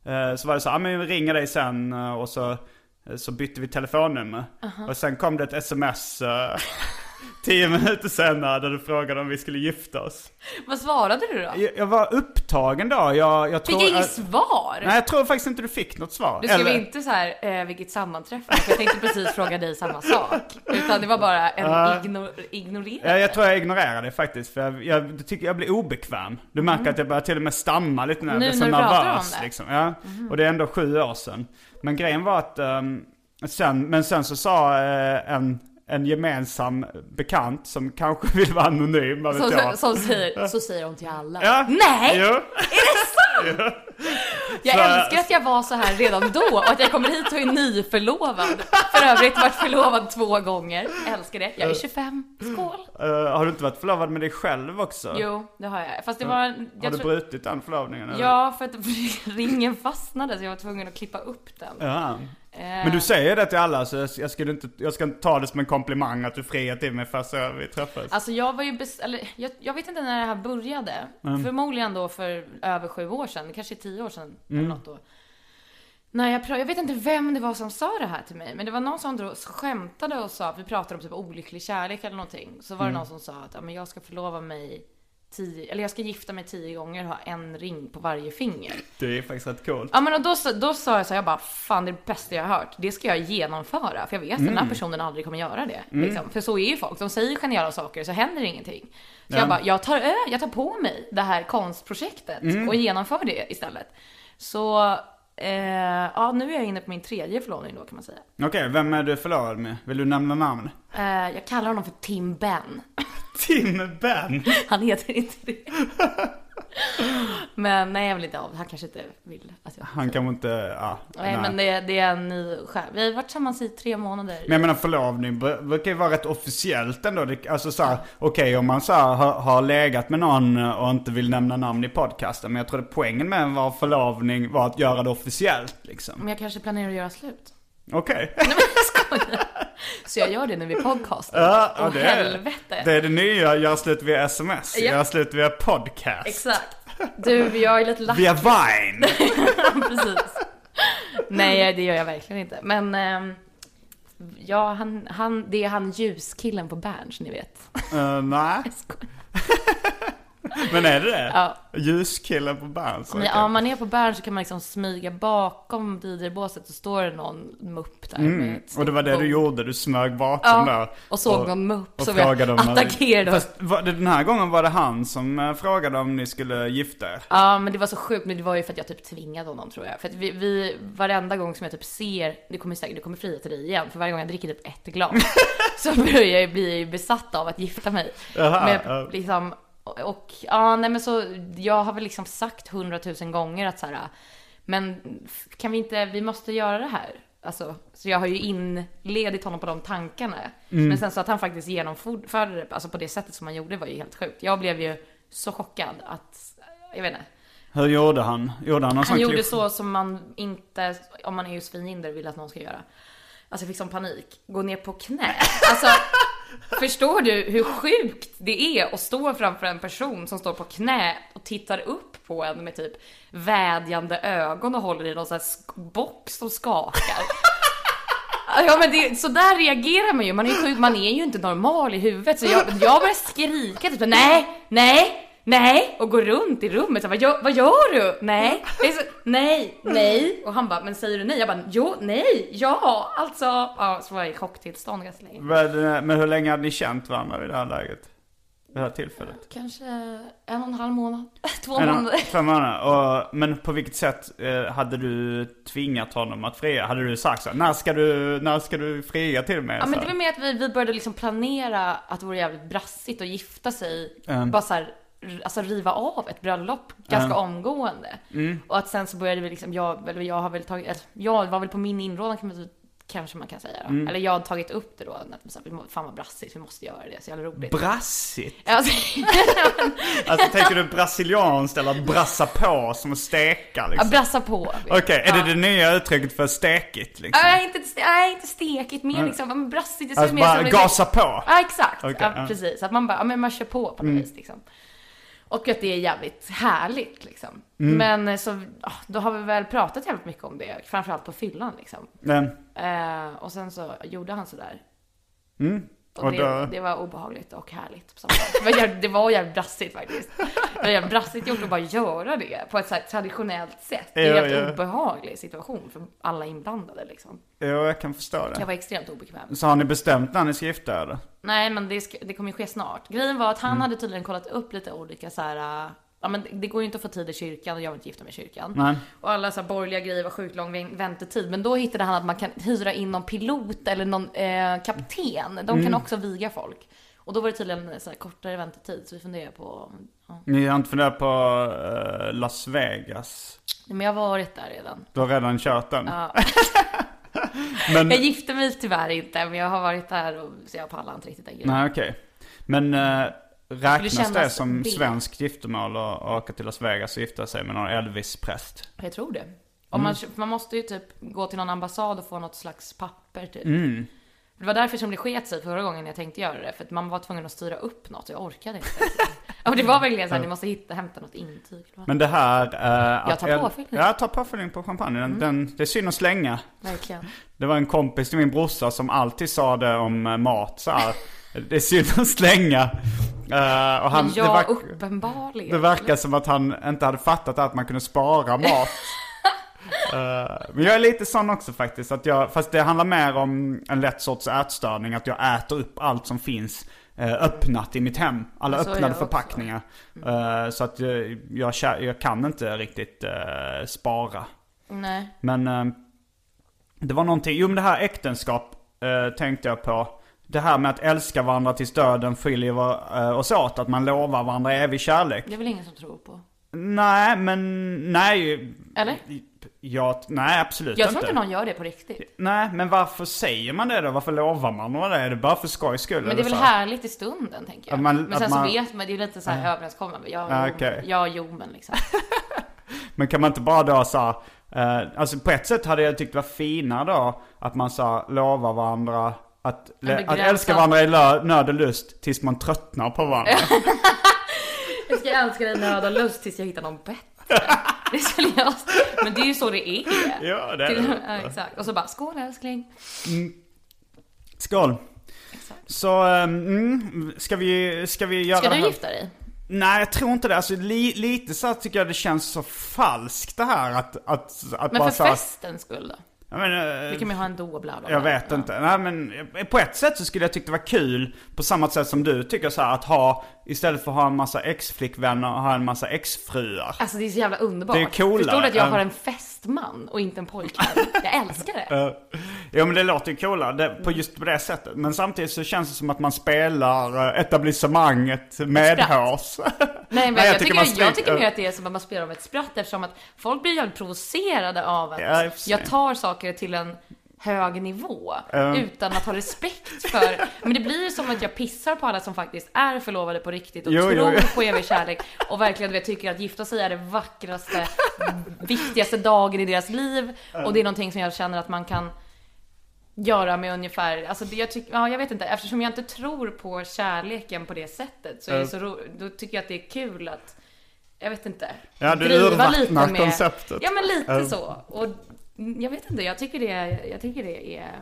[SPEAKER 1] eh, så var det så, ja ah, men vi ringer dig sen eh, och så, eh, så bytte vi telefonnummer. Och sen kom det ett sms eh, tio minuter senare där du frågade om vi skulle gifta oss.
[SPEAKER 2] Vad svarade du då?
[SPEAKER 1] Jag, jag var upptagen då, jag, jag tror...
[SPEAKER 2] Fick jag inget
[SPEAKER 1] jag-
[SPEAKER 2] svar?
[SPEAKER 1] Nej jag tror faktiskt inte du fick något svar.
[SPEAKER 2] Du skrev
[SPEAKER 1] Eller-
[SPEAKER 2] inte så här, eh, vilket sammanträffande, för jag tänkte precis fråga dig samma sak. Utan det var bara en igno- ignorering.
[SPEAKER 1] Ja, jag tror jag ignorerar det faktiskt, för jag, jag, jag tycker jag blir obekväm. Du märker att jag börjar till och med stamma lite när jag
[SPEAKER 2] Mm. Nu
[SPEAKER 1] blir så
[SPEAKER 2] när du pratar
[SPEAKER 1] nervös.
[SPEAKER 2] om det. Mhm.
[SPEAKER 1] Liksom. Ja. Och det är ändå sju år sedan. Men grejen var att, ehm, sen, men sen så sa eh, en, en gemensam bekant som kanske vill vara anonym, vad vet
[SPEAKER 2] Som,
[SPEAKER 1] jag.
[SPEAKER 2] som säger, så säger de till alla.
[SPEAKER 1] Ja.
[SPEAKER 2] Nej!
[SPEAKER 1] Jo.
[SPEAKER 2] Jag
[SPEAKER 1] Så-
[SPEAKER 2] älskar att jag var så här redan då och att jag kommer hit och är nyförlovad. För övrigt varit förlovad två gånger. Älskar det. Jag är 25. Skål!
[SPEAKER 1] Eh, har du inte varit förlovad med dig själv också?
[SPEAKER 2] Jo, det har jag. Fast det var...
[SPEAKER 1] Har
[SPEAKER 2] Jag
[SPEAKER 1] du
[SPEAKER 2] tror-
[SPEAKER 1] brutit den förlovningen? eller?
[SPEAKER 2] Ja, för att ringen fastnade så jag var tvungen att klippa upp den.
[SPEAKER 1] Ja.
[SPEAKER 2] Eh.
[SPEAKER 1] Men du säger det till alla så jag, jag, skulle inte, jag ska inte ta det som en komplimang att du friar till mig fast jag- vi träffas.
[SPEAKER 2] Alltså jag var ju bes- eller, jag, jag vet inte när det här började. Förmodligen då för över sju år sedan, kanske tio år sedan eller något då. Nej, jag, pra- jag vet inte vem det var som sa det här till mig, men det var någon som drog, skämtade och sa att vi pratade om typ olycklig kärlek eller någonting. Så var det någon som sa att ja, men jag ska förlova mig tio, eller jag ska gifta mig tio gånger och ha en ring på varje finger.
[SPEAKER 1] Det är faktiskt rätt coolt.
[SPEAKER 2] Ja men och då, sa- då sa jag så här, jag bara fan det är det bästa jag har hört. Det ska jag genomföra. För jag vet att den här personen aldrig kommer göra det. Liksom. För så är ju folk. De säger geniala saker så händer ingenting. Så jag bara, jag tar, ö, jag tar på mig det här konstprojektet och genomför det istället. Så eh, ja, nu är jag inne på min tredje förlovning då kan man säga.
[SPEAKER 1] Okej, vem är du förlovad med? Vill du nämna namn?
[SPEAKER 2] Eh, jag kallar honom för Tim Ben.
[SPEAKER 1] Tim Ben!
[SPEAKER 2] Han heter inte det. Men nej jag vill inte av, han kanske inte vill att jag...
[SPEAKER 1] Han kanske inte, ja.
[SPEAKER 2] Nej, men det, det är en ny skär. Vi har varit tillsammans i tre månader.
[SPEAKER 1] Men jag menar förlovning br- brukar ju vara rätt officiellt ändå. Det, alltså såhär, okej om man såhär har, har legat med någon och inte vill nämna namn i podcasten. Men jag tror att poängen med en var förlovning var att göra det officiellt liksom.
[SPEAKER 2] Men jag kanske planerar att göra slut.
[SPEAKER 1] Okej.
[SPEAKER 2] Nej men jag skojar. Så jag gör det nu vid podcasten.
[SPEAKER 1] Ja, ja,
[SPEAKER 2] Åh helvete.
[SPEAKER 1] Det är det nya, göra slut via sms.
[SPEAKER 2] Ja.
[SPEAKER 1] Göra slut via podcast.
[SPEAKER 2] Exakt. Du, jag är lite lack.
[SPEAKER 1] Via Vine!
[SPEAKER 2] Precis. Nej, det gör jag verkligen inte. Men ehm, ja, han, han, det är han ljuskillen på Berns, ni vet.
[SPEAKER 1] Eh, nej,
[SPEAKER 2] Jag skojar.
[SPEAKER 1] men är det det?
[SPEAKER 2] Ja.
[SPEAKER 1] Ljuskillen på Berns?
[SPEAKER 2] Men,
[SPEAKER 1] okej.
[SPEAKER 2] ja, om man är på Berns så kan man liksom smyga bakom DJ-båset och står det någon mupp där med ett
[SPEAKER 1] Mm, Och det var det du
[SPEAKER 2] bord.
[SPEAKER 1] gjorde, du smög bakom
[SPEAKER 2] Ja,
[SPEAKER 1] där.
[SPEAKER 2] och såg någon mupp
[SPEAKER 1] och
[SPEAKER 2] som jag
[SPEAKER 1] frågade om man-
[SPEAKER 2] attackerade.
[SPEAKER 1] Fast var det, den här gången var det han som eh, frågade om ni skulle gifta er.
[SPEAKER 2] Ja, men det var så sjukt. Men det var ju för att jag typ tvingade honom tror jag. För att vi, vi varenda gång som jag typ ser, det kommer säkert, det kommer fria till dig igen. För varje gång jag dricker typ ett glas så börjar jag ju bli besatt av att gifta mig. men,
[SPEAKER 1] ja.
[SPEAKER 2] liksom, och, och ja, nej men så, jag har väl liksom sagt hundratusen gånger att så här, men kan vi inte, vi måste göra det här. Alltså, så jag har ju inledit honom på de tankarna. Men sen så att han faktiskt genomförde det alltså på det sättet som han gjorde var ju helt sjukt. Jag blev ju så chockad att, jag vet inte.
[SPEAKER 1] Hur gjorde han? Gjorde han någon
[SPEAKER 2] Han
[SPEAKER 1] sån
[SPEAKER 2] gjorde
[SPEAKER 1] klipp?
[SPEAKER 2] så som man inte, om man är ju svinhinder, vill att någon ska göra. Alltså jag fick sån panik. Gå ner på knä. Alltså, förstår du hur sjukt det är att stå framför en person som står på knä och tittar upp på en med typ vädjande ögon och håller i någon sån här sk- box som skakar. Ja men det, så där reagerar man ju, man är ju sjuk, man är ju inte normal i huvudet så jag, jag börjar skrika typ nej, nej, nej och går runt i rummet så, vad, gör, vad gör du? Nej, det är så, nej, nej och han bara men säger du nej? Jag bara jo, nej, ja, alltså ja, så var jag i chocktillstånd ganska länge.
[SPEAKER 1] Men, eh, men hur länge hade ni känt varandra vid det här läget? Vid det här tillfället?
[SPEAKER 2] Kanske en och en halv månad, två
[SPEAKER 1] En Alltså. och-
[SPEAKER 2] månader.
[SPEAKER 1] Fem månader. Och, men på vilket sätt eh, hade du tvingat honom att fria? Hade du sagt så här, när ska du, när ska du fria till mig?
[SPEAKER 2] Ja
[SPEAKER 1] Så
[SPEAKER 2] men det
[SPEAKER 1] här.
[SPEAKER 2] var mer att vi, vi började liksom planera att det vore jävligt brassigt att gifta sig.
[SPEAKER 1] Mm.
[SPEAKER 2] Bara såhär, alltså riva av ett bröllop ganska omgående.
[SPEAKER 1] Mm.
[SPEAKER 2] Och att sen så började vi liksom, jag, eller jag har väl tagit, eller jag var väl på min inrådan kan man, kanske man kan säga då.
[SPEAKER 1] Mm.
[SPEAKER 2] Eller jag har tagit upp det då, att så här, vi må- fan vad brassigt, vi måste göra det, så jävla roligt.
[SPEAKER 1] Brassigt?
[SPEAKER 2] alltså,
[SPEAKER 1] Alltså tänker du brasilianskt eller att brassa på som att steka
[SPEAKER 2] ja,
[SPEAKER 1] liksom?
[SPEAKER 2] brassa på.
[SPEAKER 1] Okej, är det det nya uttrycket för stekigt liksom?
[SPEAKER 2] Nej, inte, nej, inte stekigt, mer liksom, men brassigt. Det ser
[SPEAKER 1] Alltså
[SPEAKER 2] mer
[SPEAKER 1] bara
[SPEAKER 2] som-
[SPEAKER 1] gasa på?
[SPEAKER 2] Ja exakt,
[SPEAKER 1] Okej,
[SPEAKER 2] ja,
[SPEAKER 1] ja. Mm.
[SPEAKER 2] precis. Att man bara, ja, men man kör på på något vis liksom. Och att det är jävligt härligt liksom.
[SPEAKER 1] Mm.
[SPEAKER 2] Men eh, så, ah, då har vi väl pratat jävligt mycket om det, framförallt på fyllan liksom.
[SPEAKER 1] Men,
[SPEAKER 2] Eh, och sen så gjorde han sådär. Och
[SPEAKER 1] Och
[SPEAKER 2] det,
[SPEAKER 1] då-
[SPEAKER 2] det var obehagligt och härligt på samma gång. Det var jävligt- Det var jävligt brassigt faktiskt. Det var jävligt brassigt gjort att bara göra det på ett så här traditionellt sätt. Det är en
[SPEAKER 1] Ja,
[SPEAKER 2] jävligt
[SPEAKER 1] ja.
[SPEAKER 2] obehaglig situation för alla inblandade liksom.
[SPEAKER 1] jo jag kan förstå
[SPEAKER 2] Jag
[SPEAKER 1] det.
[SPEAKER 2] var extremt obekväm.
[SPEAKER 1] Så har ni bestämt när ni ska gifta er?
[SPEAKER 2] Nej, men det, sk- det kommer ju ske snart. Grejen var att
[SPEAKER 1] Mm.
[SPEAKER 2] han hade tydligen kollat upp lite olika så här. äh, Ja, men det går ju inte att få tid i kyrkan och jag vill inte gifta mig i kyrkan.
[SPEAKER 1] Nej.
[SPEAKER 2] Och alla så här borgerliga grejer var sjukt lång vä- väntetid. Men då hittade han att man kan hyra in någon pilot eller någon eh, kapten. De
[SPEAKER 1] Mm.
[SPEAKER 2] kan också viga folk. Och då var det tydligen så här kortare väntetid. Så vi funderar på... Ja.
[SPEAKER 1] Ni har inte funderat på eh, Las Vegas?
[SPEAKER 2] Men jag har varit där redan.
[SPEAKER 1] Du har redan kört den?
[SPEAKER 2] Ja.
[SPEAKER 1] Men,
[SPEAKER 2] Jag gifte mig tyvärr inte, men jag har varit där och så jag pallar inte riktigt den grejen.
[SPEAKER 1] nej okej. Men eh, räknas
[SPEAKER 2] kännas
[SPEAKER 1] det som
[SPEAKER 2] B.
[SPEAKER 1] svenskt giftermål att åka till Las Vegas och gifta sig med någon Elvis-präst?
[SPEAKER 2] Jag tror det. Om
[SPEAKER 1] Mm.
[SPEAKER 2] man, man måste ju typ gå till någon ambassad och få något slags papper typ.
[SPEAKER 1] Mm.
[SPEAKER 2] Det var därför som det sket sig förra gången jag tänkte göra det. För att man var tvungen att styra upp något och jag orkade inte. ja, men det var verkligen såhär, ni måste hitta, hämta något intyg.
[SPEAKER 1] Men det här... Eh,
[SPEAKER 2] Jag tar
[SPEAKER 1] El-
[SPEAKER 2] påfyllning. Mm.
[SPEAKER 1] Ja, jag tar påfyllning på champagne. Den, den, det är synd att slänga.
[SPEAKER 2] Verkligen.
[SPEAKER 1] Det var en kompis till min brorsa som alltid sa det om eh, mat så här. Det är synd att slänga. Eh, och han,
[SPEAKER 2] ja,
[SPEAKER 1] det, verk,
[SPEAKER 2] uppenbarligen.
[SPEAKER 1] det verkar som att han inte hade fattat att man kunde spara mat. Eh, men jag är lite sån också faktiskt. Att jag, fast det handlar mer om en lätt sorts ätstörning. Att jag äter upp allt som finns eh, öppnat i mitt hem. Alla
[SPEAKER 2] Så är jag
[SPEAKER 1] öppnade
[SPEAKER 2] också. Mm.
[SPEAKER 1] förpackningar. Eh, så att eh, jag, kä- jag kan inte riktigt eh, spara.
[SPEAKER 2] Nej.
[SPEAKER 1] Men eh, det var någonting, jo men det här äktenskap eh, tänkte jag på. Det här med att älska varandra tills döden skiljer eh, oss åt, att man lovar varandra evig kärlek.
[SPEAKER 2] Det är väl ingen som tror på.
[SPEAKER 1] Nej, men nej.
[SPEAKER 2] Eller?
[SPEAKER 1] Ja, nej absolut
[SPEAKER 2] Jag tror inte någon gör det på riktigt.
[SPEAKER 1] Nej, men varför säger man det då? Varför lovar man varandra det? Är det bara för skojs skull?
[SPEAKER 2] Men det
[SPEAKER 1] eller
[SPEAKER 2] är väl
[SPEAKER 1] så här?
[SPEAKER 2] härligt i stunden tänker jag.
[SPEAKER 1] Att man-
[SPEAKER 2] men
[SPEAKER 1] att
[SPEAKER 2] sen
[SPEAKER 1] man-
[SPEAKER 2] så vet man, det är ju lite såhär överenskommet. Jag,
[SPEAKER 1] Ja,
[SPEAKER 2] ja,
[SPEAKER 1] okej.
[SPEAKER 2] jag, jo men liksom.
[SPEAKER 1] Men kan man inte bara då så här, eh, alltså på ett sätt hade jag tyckt det var finare då att man sa lovar varandra att,
[SPEAKER 2] Men begränsa-
[SPEAKER 1] att älska varandra i lö- nöd och lust tills man tröttnar på varandra.
[SPEAKER 2] Jag ska älska dig nöd och lust tills jag hittar någon bättre. Det skulle jag... Men det är ju så det är.
[SPEAKER 1] Ja, det är
[SPEAKER 2] Till-
[SPEAKER 1] det.
[SPEAKER 2] ja, exakt. Och så bara, skål älskling.
[SPEAKER 1] Skål.
[SPEAKER 2] Exakt.
[SPEAKER 1] Så, ehm, mm, ska vi, ska vi göra
[SPEAKER 2] Ska
[SPEAKER 1] det
[SPEAKER 2] du
[SPEAKER 1] här?
[SPEAKER 2] gifta dig?
[SPEAKER 1] Nej, jag tror inte det. Alltså li, lite så här tycker jag det känns så falskt det här att, att, att
[SPEAKER 2] Men
[SPEAKER 1] bara
[SPEAKER 2] för
[SPEAKER 1] så här,
[SPEAKER 2] festens skull då?
[SPEAKER 1] jag, men,
[SPEAKER 2] Vi
[SPEAKER 1] eh,
[SPEAKER 2] kan ju ha en då bla bla bla.
[SPEAKER 1] jag vet
[SPEAKER 2] Ja.
[SPEAKER 1] inte. Nej men eh, på ett sätt så skulle jag tycka det var kul på samma sätt som du tycker så här att ha, istället för att ha en massa ex-flickvänner, ha en massa ex-fruar.
[SPEAKER 2] Alltså det är så jävla underbart.
[SPEAKER 1] Det är coolare.
[SPEAKER 2] Förstår du att jag
[SPEAKER 1] Ja.
[SPEAKER 2] har en fästman och inte en pojkvän? Jag älskar det.
[SPEAKER 1] Eh, Ja men det låter ju coolare det, på just på det sättet. Men samtidigt så känns det som att man spelar eh, etablissemanget medhårs.
[SPEAKER 2] Nej, men
[SPEAKER 1] Nej,
[SPEAKER 2] jag,
[SPEAKER 1] jag tycker
[SPEAKER 2] tycker,
[SPEAKER 1] man
[SPEAKER 2] jag,
[SPEAKER 1] stryker-
[SPEAKER 2] tycker mer att det är som att man spelar om ett spratt eftersom att folk blir jävligt provocerade av att
[SPEAKER 1] Ja, i och för sig.
[SPEAKER 2] jag tar saker till en hög nivå
[SPEAKER 1] Ja.
[SPEAKER 2] utan att ha respekt för... Men det blir ju som att jag pissar på alla som faktiskt är förlovade på riktigt och
[SPEAKER 1] Jo,
[SPEAKER 2] tror
[SPEAKER 1] jo, jo.
[SPEAKER 2] på evig kärlek och verkligen du vet, tycker att gifta sig är det vackraste, viktigaste dagen i deras liv och det är någonting som jag känner att man kan göra med ungefär, alltså det jag tycker, ja jag vet inte, eftersom jag inte tror på kärleken på det sättet så, är det
[SPEAKER 1] Mm.
[SPEAKER 2] så ro, då tycker jag att det är kul att, jag vet inte,
[SPEAKER 1] Ja, du
[SPEAKER 2] driva
[SPEAKER 1] urvattnar
[SPEAKER 2] lite med-
[SPEAKER 1] konceptet.
[SPEAKER 2] Ja men lite
[SPEAKER 1] Mm.
[SPEAKER 2] så, och mm, jag vet inte, jag tycker det, jag tycker det är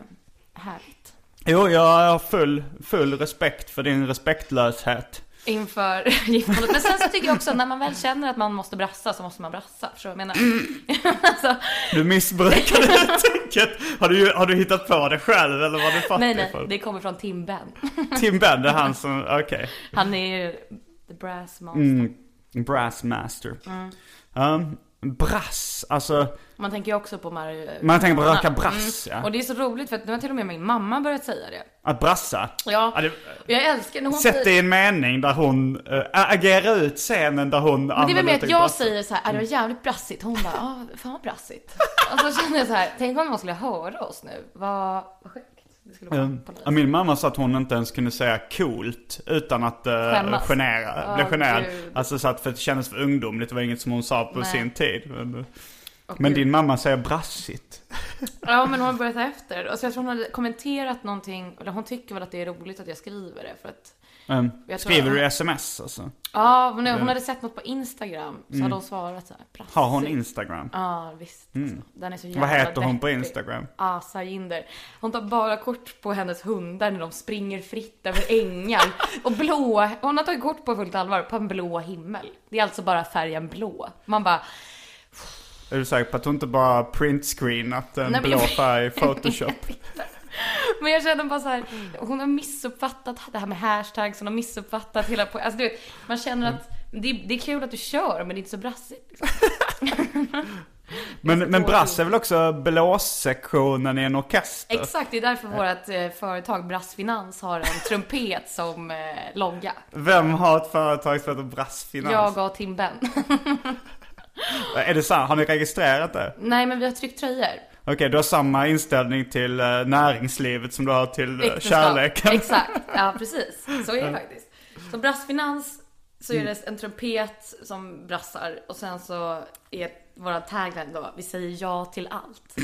[SPEAKER 2] härligt.
[SPEAKER 1] Jo, jag har full, full respekt för din respektlöshet.
[SPEAKER 2] Inför giftermålet. Men sen så tycker jag också när man väl känner att man måste brassa så måste man brassa. Förstår du vad jag menar? alltså,
[SPEAKER 1] Du missbrukar det uttrycket. Har du, har du hittat på det själv eller vad du fattar
[SPEAKER 2] nej nej,
[SPEAKER 1] för?
[SPEAKER 2] det kommer från Tim Ben.
[SPEAKER 1] Tim Bend, det är han som, okej.
[SPEAKER 2] Han är ju the brass monster.
[SPEAKER 1] Mm, brass master.
[SPEAKER 2] Mm.
[SPEAKER 1] Um, brass, alltså
[SPEAKER 2] Man tänker ju också på Mario.
[SPEAKER 1] man tänker på röka brass ja.
[SPEAKER 2] Mm. Och det är så roligt för att nu har till och med min mamma börjat säga det.
[SPEAKER 1] Att brassa.
[SPEAKER 2] Ja,
[SPEAKER 1] det-
[SPEAKER 2] och jag älskar när hon
[SPEAKER 1] Sätt det
[SPEAKER 2] säger...
[SPEAKER 1] i en mening där hon äh, agerar ut scenen där hon
[SPEAKER 2] Men det är väl mer
[SPEAKER 1] uttrycket
[SPEAKER 2] att jag
[SPEAKER 1] brassa.
[SPEAKER 2] säger så här, "Ah, det var
[SPEAKER 1] Mm.
[SPEAKER 2] jävligt brassigt. Hon bara, ja, fan vad brassigt. Och så känner jag så här, tänk om någon skulle höra oss nu. Vad vad sjukt. Det skulle vara
[SPEAKER 1] Mm.
[SPEAKER 2] på något
[SPEAKER 1] Ja,
[SPEAKER 2] vis.
[SPEAKER 1] Min mamma sa att hon inte ens kunde säga coolt utan att uh,
[SPEAKER 2] Skämmas.
[SPEAKER 1] genera,
[SPEAKER 2] Åh,
[SPEAKER 1] bli generad.
[SPEAKER 2] Gud.
[SPEAKER 1] Alltså så att för det kändes för ungdomligt, det var inget som hon sa på
[SPEAKER 2] Nej.
[SPEAKER 1] sin tid. Men, eh,
[SPEAKER 2] Och
[SPEAKER 1] men
[SPEAKER 2] Gud.
[SPEAKER 1] din mamma säger brassigt.
[SPEAKER 2] Ja, men hon har börjat ta efter. Och så jag tror hon hade kommenterat någonting, eller hon tycker väl att det är roligt att jag skriver det för att...
[SPEAKER 1] Mm.
[SPEAKER 2] Jag tror-
[SPEAKER 1] Skriver du sms alltså?
[SPEAKER 2] Ja, men hon hade sett något på Instagram, så hade hon svarat så här, brassigt.
[SPEAKER 1] Mm. Har hon Instagram?
[SPEAKER 2] Ja, visst. alltså. Den är så jävla
[SPEAKER 1] Vad heter hon på
[SPEAKER 2] deppig.
[SPEAKER 1] Instagram?
[SPEAKER 2] Asa Jinder. Hon tar bara kort på hennes hundar när de springer fritt över ängar. Och blå, hon har tagit kort på fullt allvar på en blå himmel. Det är alltså bara färgen blå. Man bara,
[SPEAKER 1] Är du säker på att hon inte bara printscreenat en
[SPEAKER 2] Nej, men
[SPEAKER 1] blå
[SPEAKER 2] jag-
[SPEAKER 1] färg i photoshop?
[SPEAKER 2] men jag känner bara så här, hon har missuppfattat det här med hashtags, hon har missuppfattat hela po- Alltså du vet, man känner att det, det är kul att du kör men det är inte så brassigt. Liksom.
[SPEAKER 1] men, men brass är väl också blåssektionen i en orkester?
[SPEAKER 2] Exakt, det är därför vårt eh, företag Brassfinans har en trumpet som eh, logga.
[SPEAKER 1] Vem har ett företag som heter Brassfinans?
[SPEAKER 2] Jag och Tim Ben.
[SPEAKER 1] Är det sant? Har ni registrerat det?
[SPEAKER 2] Nej men vi har tryckt tröjor.
[SPEAKER 1] Okej, du har samma inställning till eh, näringslivet som du har till eh,
[SPEAKER 2] Äktenskap.
[SPEAKER 1] kärleken.
[SPEAKER 2] Exakt, ja precis. Så är det faktiskt. Så brassfinans så är
[SPEAKER 1] Mm.
[SPEAKER 2] det en trumpet som brassar och sen så är våra tagline då, vi säger ja till allt.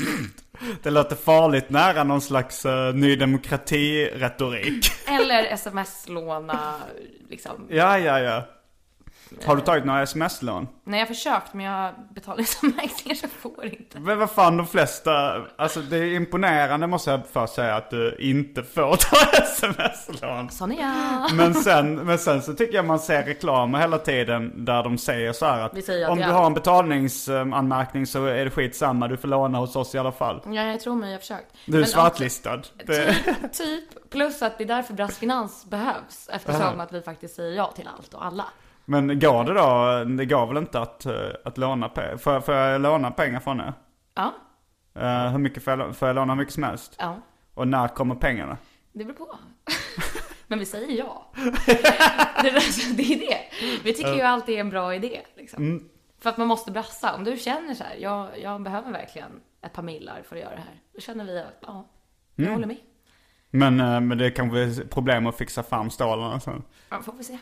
[SPEAKER 1] Det låter farligt nära någon slags uh, ny demokrati-retorik.
[SPEAKER 2] Eller sms-låna liksom.
[SPEAKER 1] ja, ja, ja. Har du tagit några sms-lån?
[SPEAKER 2] Nej jag har försökt men jag betalar som märkningar så jag får inte.
[SPEAKER 1] Men vad fan de flesta, alltså det är imponerande måste jag först säga att du inte får ta sms-lån.
[SPEAKER 2] Sån är jag.
[SPEAKER 1] Men sen, men sen så tycker jag man ser reklamer hela tiden där de säger så här
[SPEAKER 2] Vi
[SPEAKER 1] att
[SPEAKER 2] säger att
[SPEAKER 1] om
[SPEAKER 2] det
[SPEAKER 1] du
[SPEAKER 2] är-
[SPEAKER 1] har en betalningsanmärkning så är det skitsamma, du får låna hos oss i alla fall.
[SPEAKER 2] Ja, jag tror mig, jag har försökt.
[SPEAKER 1] Du är
[SPEAKER 2] Men
[SPEAKER 1] svartlistad. Det...
[SPEAKER 2] Typ, typ, plus att det är därför brassfinans behövs eftersom
[SPEAKER 1] Aha.
[SPEAKER 2] att vi faktiskt säger ja till allt och alla.
[SPEAKER 1] Men går det då? Det går väl inte att, eh, att låna pengar? Får, jag- får jag låna pengar från er?
[SPEAKER 2] Ja,
[SPEAKER 1] Eh, hur mycket får jag, lå- får jag låna hur mycket som helst?
[SPEAKER 2] ja.
[SPEAKER 1] Och när kommer pengarna?
[SPEAKER 2] Det beror på. Men vi säger ja. det, är- alltså, det är det. Vi tycker ju alltid är en bra idé. Liksom.
[SPEAKER 1] Mm.
[SPEAKER 2] För att man måste brassa. Om du känner så här, jag, jag behöver verkligen ett par millar för att göra det här. Då känner vi att, ja, jag
[SPEAKER 1] Mm.
[SPEAKER 2] håller med.
[SPEAKER 1] Men, eh, men det är kanske är problem att fixa fram stålarna sen.
[SPEAKER 2] Ja, får vi se.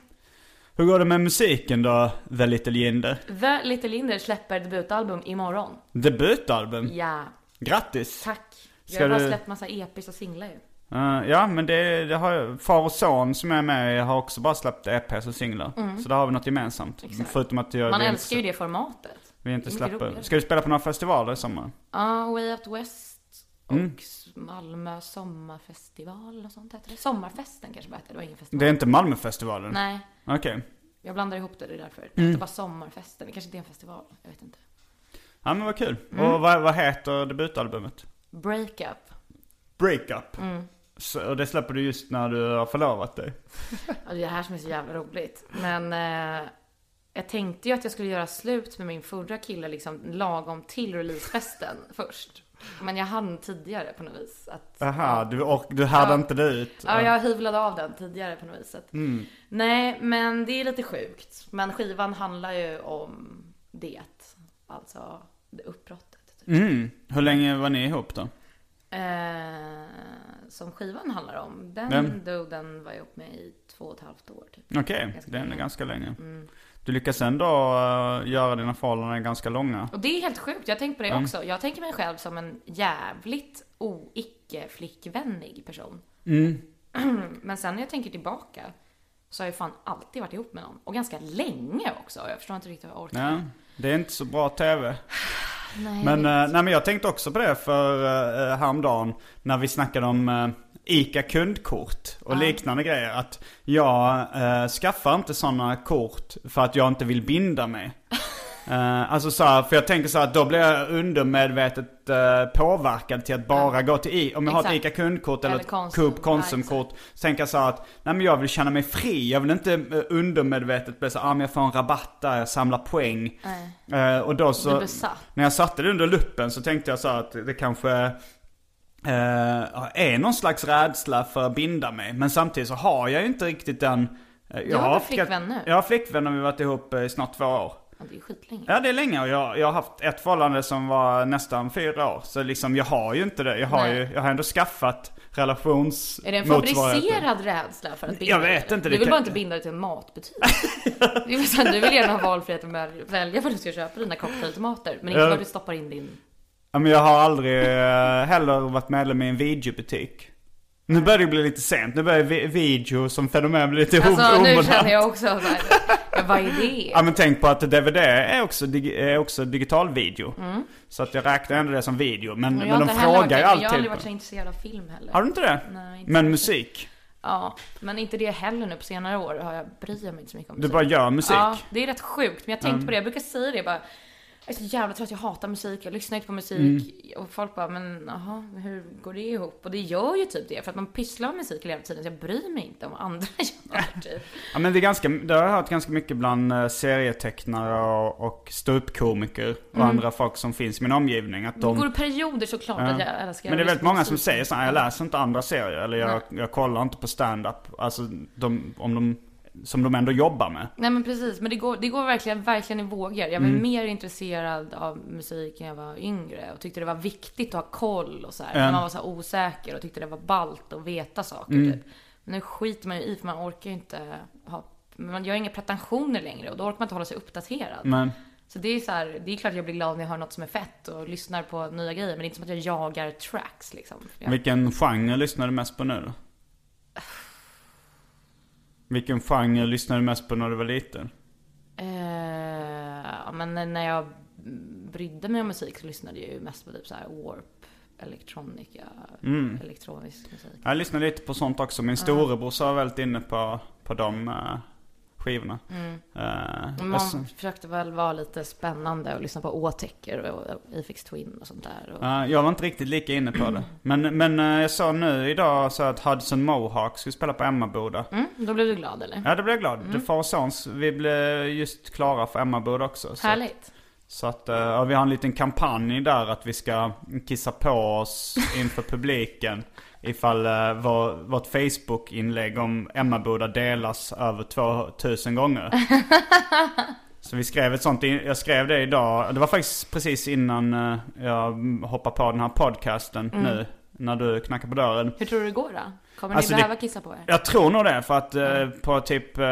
[SPEAKER 1] Hur går det med musiken då, The Little Jinder?
[SPEAKER 2] The Little Linder släpper debutalbum imorgon.
[SPEAKER 1] Debutalbum?
[SPEAKER 2] Ja,
[SPEAKER 1] Grattis!
[SPEAKER 2] tack. Jag
[SPEAKER 1] Mm. Ska
[SPEAKER 2] har
[SPEAKER 1] du-
[SPEAKER 2] släppt massa EPs och singlar ju.
[SPEAKER 1] Eh, ja, men det, det har jag- Far och son som är med har också bara släppt EPs och singlar. Så där har vi något gemensamt.
[SPEAKER 2] Mm. Exakt.
[SPEAKER 1] Förutom att jag,
[SPEAKER 2] liksom. Man
[SPEAKER 1] vi,
[SPEAKER 2] älskar ju
[SPEAKER 1] inte,
[SPEAKER 2] det formatet.
[SPEAKER 1] vi inte
[SPEAKER 2] Det är mycket
[SPEAKER 1] släpper.
[SPEAKER 2] roligare.
[SPEAKER 1] Ska du spela på några festivaler i sommar?
[SPEAKER 2] Ja, Way Out West och
[SPEAKER 1] Mm.
[SPEAKER 2] Malmö sommarfestival och sånt heter det. Sommarfesten kanske bara hette, det var ingen festival.
[SPEAKER 1] Det är inte Malmöfestivalen?
[SPEAKER 2] Nej,
[SPEAKER 1] Okej.
[SPEAKER 2] Jag blandar ihop det, det är därför.
[SPEAKER 1] Mm.
[SPEAKER 2] Det var sommarfesten, det kanske inte är en festival, jag vet inte.
[SPEAKER 1] Ja men vad kul.
[SPEAKER 2] Mm.
[SPEAKER 1] Och vad, vad heter debutalbumet?
[SPEAKER 2] Breakup.
[SPEAKER 1] Breakup.
[SPEAKER 2] Mm.
[SPEAKER 1] Så, och det släpper du just när du har förlovat dig.
[SPEAKER 2] Ja, Alltså, Det är det här som är så jävla roligt. Men eh, jag tänkte ju att jag skulle göra slut med min förra kille liksom lagom till releasefesten först. Men jag hann tidigare på något vis. Att,
[SPEAKER 1] Aha, du, och, du hade
[SPEAKER 2] Ja.
[SPEAKER 1] inte det ut.
[SPEAKER 2] Ja, jag hyvlade av den tidigare på något vis. Att,
[SPEAKER 1] Mm.
[SPEAKER 2] Nej, men det är lite sjukt. Men skivan handlar ju om det. Alltså, det uppbrottet. Typ.
[SPEAKER 1] Mm. Hur länge var ni ihop då?
[SPEAKER 2] Eh, som skivan handlar om. Den
[SPEAKER 1] Vem?
[SPEAKER 2] duden var jag ihop med i två och ett halvt år typ.
[SPEAKER 1] Okej,
[SPEAKER 2] Ganska
[SPEAKER 1] den är
[SPEAKER 2] länge. Mm.
[SPEAKER 1] ganska länge. Du lyckas ändå eh, göra dina förhållanden ganska långa.
[SPEAKER 2] Och det är helt sjukt, jag tänker på det också. Jag tänker mig själv som en jävligt o-icke-flickvänlig person.
[SPEAKER 1] Mm.
[SPEAKER 2] Men sen när jag tänker tillbaka så har jag fan alltid varit ihop med någon. Och ganska länge också. Jag förstår inte riktigt hur jag orkar.
[SPEAKER 1] Ja, det är inte så bra tv.
[SPEAKER 2] Nej.
[SPEAKER 1] Men, eh, nej, men jag tänkte också på det för eh, häromdagen när vi snackade om eh, ICA kundkort och liknande grejer. Att jag eh, skaffar inte sådana kort för att jag inte vill binda mig. Eh, alltså så här, för jag tänker så här, att då blir jag undermedvetet eh, påverkad till att bara gå till ICA. Om jag har ett ICA
[SPEAKER 2] Exakt.
[SPEAKER 1] kundkort eller,
[SPEAKER 2] Eller
[SPEAKER 1] ett
[SPEAKER 2] Konsum.
[SPEAKER 1] Coop Konsumkort. Så tänker jag så här att, nej men jag vill känna mig fri. Jag vill inte eh, undermedvetet bli så här, ah, men jag får en rabatt där, jag samlar poäng. Eh, och då
[SPEAKER 2] Du
[SPEAKER 1] så,
[SPEAKER 2] är besatt.
[SPEAKER 1] när jag satte det under luppen så tänkte jag så här att det kanske eh, är någon slags rädsla för att binda mig. Men samtidigt så har jag ju inte riktigt den... eh, Jag
[SPEAKER 2] har väl
[SPEAKER 1] haft-
[SPEAKER 2] flickvän nu?
[SPEAKER 1] Jag har flickvän och vi har varit ihop eh, i snart två år.
[SPEAKER 2] Ja, det är ju skitlänge.
[SPEAKER 1] Ja det är länge och jag, jag har haft ett förhållande som var nästan fyra år. Så liksom jag har ju inte det. Jag har
[SPEAKER 2] Nej.
[SPEAKER 1] ju, jag har ändå skaffat relations...
[SPEAKER 2] Är det en
[SPEAKER 1] motsvarighet.
[SPEAKER 2] fabricerad rädsla för att binda
[SPEAKER 1] Jag
[SPEAKER 2] dig,
[SPEAKER 1] vet
[SPEAKER 2] eller?
[SPEAKER 1] inte, det
[SPEAKER 2] Du vill
[SPEAKER 1] kan-
[SPEAKER 2] bara inte binda dig till en matbutik. Det är ju så här, du vill gärna ha valfriheten med att välja vad du ska köpa dina cocktailtomater. Men inte
[SPEAKER 1] Ja.
[SPEAKER 2] var du stoppar in din...
[SPEAKER 1] Ja, men jag har aldrig eh, heller varit medlem i en videobutik. Nu börjar det bli lite sent, nu börjar vi- video som fenomen bli lite
[SPEAKER 2] Alltså
[SPEAKER 1] om-
[SPEAKER 2] nu
[SPEAKER 1] omodernt.
[SPEAKER 2] känner jag också såhär, vad är det?
[SPEAKER 1] Ja men tänk på att DVD är också, dig- är också digital video. Så att jag räknar ändå det som video. Men,
[SPEAKER 2] Och
[SPEAKER 1] men
[SPEAKER 2] Mm.
[SPEAKER 1] de
[SPEAKER 2] jag har inte heller varit-
[SPEAKER 1] frågar ju
[SPEAKER 2] Jag har
[SPEAKER 1] alltid.
[SPEAKER 2] aldrig varit så intresserad av film heller.
[SPEAKER 1] Har du inte det?
[SPEAKER 2] Nej, inte
[SPEAKER 1] men
[SPEAKER 2] riktigt.
[SPEAKER 1] musik?
[SPEAKER 2] Ja, men inte det heller nu på senare år. Har jag bryr mig inte så mycket om
[SPEAKER 1] Du bara gör musik?
[SPEAKER 2] Ja, det är rätt sjukt. Men jag tänkte på det. Jag brukar säga det bara. Jag är så jävla trött, jag hatar musik, jag lyssnar inte på musik.
[SPEAKER 1] Mm.
[SPEAKER 2] Och folk bara, men jaha, hur går det ihop? Och det gör ju typ det, för att man pysslar med musik hela tiden. Så jag bryr mig inte om vad andra gör typ.
[SPEAKER 1] Ja men det är ganska, det har jag hört ganska mycket bland eh, serietecknare och, och ståuppkomiker och andra folk som finns i min omgivning. Att
[SPEAKER 2] Det
[SPEAKER 1] de,
[SPEAKER 2] Mm. går i perioder såklart att jag älskar
[SPEAKER 1] Men det är
[SPEAKER 2] att
[SPEAKER 1] väldigt
[SPEAKER 2] lyssna på
[SPEAKER 1] många som
[SPEAKER 2] musik.
[SPEAKER 1] säger så här, jag läser inte andra serier eller jag, jag kollar inte på stand-up. Alltså de, om de, som de ändå jobbar med.
[SPEAKER 2] Nej men precis, men det går, det går verkligen, verkligen i vågor. Jag var mer intresserad av musik när jag var yngre och tyckte det var viktigt att ha koll och så här.
[SPEAKER 1] Mm.
[SPEAKER 2] Man var så här osäker och tyckte det var ballt att veta saker typ. Men nu skiter man ju i för man orkar ju inte ha, man gör inga pretensioner längre och då orkar man inte hålla sig uppdaterad.
[SPEAKER 1] Men,
[SPEAKER 2] Så det är så här, det är klart jag blir glad när jag hör något som är fett och lyssnar på nya grejer men det är inte som att jag jagar tracks liksom. Jag,
[SPEAKER 1] vilken genre lyssnar du mest på nu då? Vilken genre lyssnar du mest på när du var liten?
[SPEAKER 2] eh, ja, men när- när jag brydde mig om musik så lyssnade jag ju mest på typ så här Warp, Electronica,
[SPEAKER 1] Mm.
[SPEAKER 2] elektronisk musik.
[SPEAKER 1] Jag lyssnar lite på sånt också. Min storebrorsa var väldigt inne på, på de eh, skivorna. Eh,
[SPEAKER 2] Mm. Man
[SPEAKER 1] jag s-
[SPEAKER 2] försökte väl vara lite spännande och lyssna på Åtecker och Afix Twin och sånt där. Och,
[SPEAKER 1] Ja, jag var inte riktigt lika inne på det. Men, men eh, jag såg nu idag så att Hudson Mohawk skulle spela på Emmaboda.
[SPEAKER 2] mm, då blev du glad eller?
[SPEAKER 1] Ja, det blev jag glad. Det far och sons. Vi blev just klara för Emmaboda också. Så,
[SPEAKER 2] Härligt.
[SPEAKER 1] så att, eh, ja, vi har en liten kampanj där att vi ska kissa på oss inför publiken. Ifall eh, vår, vårt Facebook-inlägg om Emmaboda delas över 2000 gånger. Så vi skrev ett sånt, in- jag skrev det idag, det var faktiskt precis innan eh, jag hoppade på den här podcasten nu. När du knackade på dörren.
[SPEAKER 2] Hur tror du det går då? Kommer
[SPEAKER 1] Alltså,
[SPEAKER 2] ni
[SPEAKER 1] det-
[SPEAKER 2] behöva kissa på er?
[SPEAKER 1] Jag tror nog det, för att eh, på typ eh,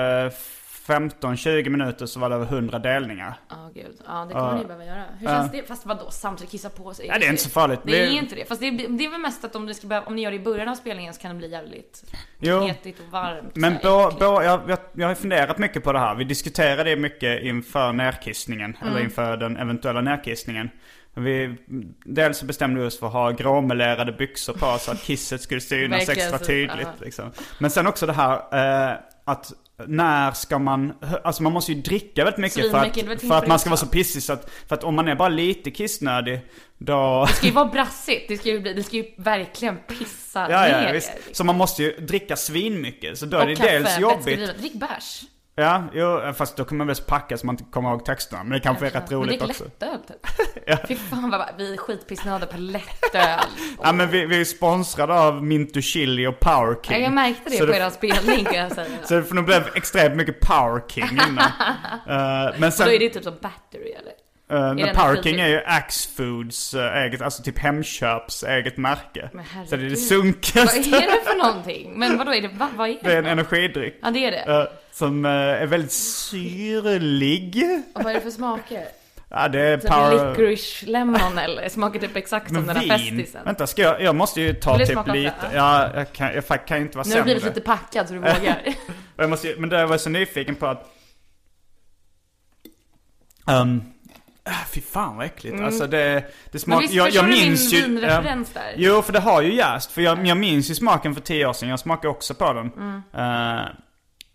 [SPEAKER 1] 15-20 minuter så var det över 100 delningar.
[SPEAKER 2] Ja, gud. Ja, det kommer ni behöva göra. Hur känns det? Fast vadå, samtidigt kissa på sig?
[SPEAKER 1] Ja, det är inte så farligt.
[SPEAKER 2] Det
[SPEAKER 1] Det-
[SPEAKER 2] är inte det. Fast det är, det är väl mest att om, du ska behöva, om ni gör det i början av spelningen så kan det bli jävligt
[SPEAKER 1] Jo.
[SPEAKER 2] knetigt och varmt.
[SPEAKER 1] Men
[SPEAKER 2] så här
[SPEAKER 1] bo,
[SPEAKER 2] äckligt.
[SPEAKER 1] bo, jag, jag, jag har funderat mycket på det här. Vi diskuterade det mycket inför närkissningen. Eller
[SPEAKER 2] Mm.
[SPEAKER 1] inför den eventuella närkissningen. Vi, dels så bestämde vi oss för att ha gråmelerade byxor på så att kisset skulle synas
[SPEAKER 2] Verkligen
[SPEAKER 1] extra
[SPEAKER 2] så,
[SPEAKER 1] tydligt.
[SPEAKER 2] aha.
[SPEAKER 1] Liksom. Men sen också det här eh, att när ska man, alltså man måste ju dricka väldigt mycket för
[SPEAKER 2] Svinmycket, det var
[SPEAKER 1] att,
[SPEAKER 2] ett
[SPEAKER 1] för att man ska vara
[SPEAKER 2] himla
[SPEAKER 1] så pissig så att, för att om man är bara lite kissnödig då...
[SPEAKER 2] Det ska ju vara brassigt. Det ska ju, bli, det ska ju verkligen pissa
[SPEAKER 1] Ja,
[SPEAKER 2] ner liksom.
[SPEAKER 1] ja, visst. Så man måste ju dricka svinmycket. Så då är
[SPEAKER 2] Och
[SPEAKER 1] det
[SPEAKER 2] kaffe,
[SPEAKER 1] dels jobbigt
[SPEAKER 2] vätskedrivet. Drick bärs.
[SPEAKER 1] Ja, jo, fast då kommer man väl packa så man inte kommer ihåg texterna. Men det kanske är rätt
[SPEAKER 2] Men
[SPEAKER 1] roligt
[SPEAKER 2] drick
[SPEAKER 1] också.
[SPEAKER 2] lättöl typ. Fy fan vad vi är skitpissnödiga på lättöl.
[SPEAKER 1] Ja men vi, vi är sponsrade av Mintu Chili och Power
[SPEAKER 2] Ja,
[SPEAKER 1] King.
[SPEAKER 2] jag märkte det
[SPEAKER 1] så
[SPEAKER 2] på er spelning kan jag säga.
[SPEAKER 1] Så det för nog blev extremt mycket Power King innan. Eh, men
[SPEAKER 2] Då
[SPEAKER 1] sen,
[SPEAKER 2] är det typ som battery eller?
[SPEAKER 1] Eh, men
[SPEAKER 2] den
[SPEAKER 1] Parking
[SPEAKER 2] fri-
[SPEAKER 1] är ju Axe Foods eh, eget, alltså typ Hemköps eget märke.
[SPEAKER 2] Men herregud.
[SPEAKER 1] Så det är det
[SPEAKER 2] Vad
[SPEAKER 1] sunkigaste.
[SPEAKER 2] är det för någonting? Men vadå, är det, va, vad är
[SPEAKER 1] Det är
[SPEAKER 2] det?
[SPEAKER 1] en energidryck.
[SPEAKER 2] Ja, det är det.
[SPEAKER 1] eh, Som eh, är väldigt syrlig.
[SPEAKER 2] Och vad är det för smaker?
[SPEAKER 1] Ja, det är
[SPEAKER 2] Typ
[SPEAKER 1] power...
[SPEAKER 2] licorice lemon eller smakar typ exakt som den där festisen.
[SPEAKER 1] Vänta, ska jag, jag måste ju ta
[SPEAKER 2] Vill du
[SPEAKER 1] typ
[SPEAKER 2] smaka
[SPEAKER 1] lite.
[SPEAKER 2] också?
[SPEAKER 1] Ja, jag kan, jag fa- kan ju inte vara
[SPEAKER 2] Nu har du
[SPEAKER 1] sämre.
[SPEAKER 2] blivit lite packad så du vågar.
[SPEAKER 1] Och Jag måste, ju- men det var jag så nyfiken på att... Ehm, ah, fy fan vad äckligt. Alltså det, det
[SPEAKER 2] Mm. Men
[SPEAKER 1] smak,
[SPEAKER 2] visst
[SPEAKER 1] jag,
[SPEAKER 2] förstår
[SPEAKER 1] jag
[SPEAKER 2] du min
[SPEAKER 1] minns ju...
[SPEAKER 2] vinreferens
[SPEAKER 1] ehm,
[SPEAKER 2] där?
[SPEAKER 1] Jo, för det har ju jäst. För jag, jag minns ju smaken för tio år sedan. Jag smakade också på den.
[SPEAKER 2] Mm.
[SPEAKER 1] Eh,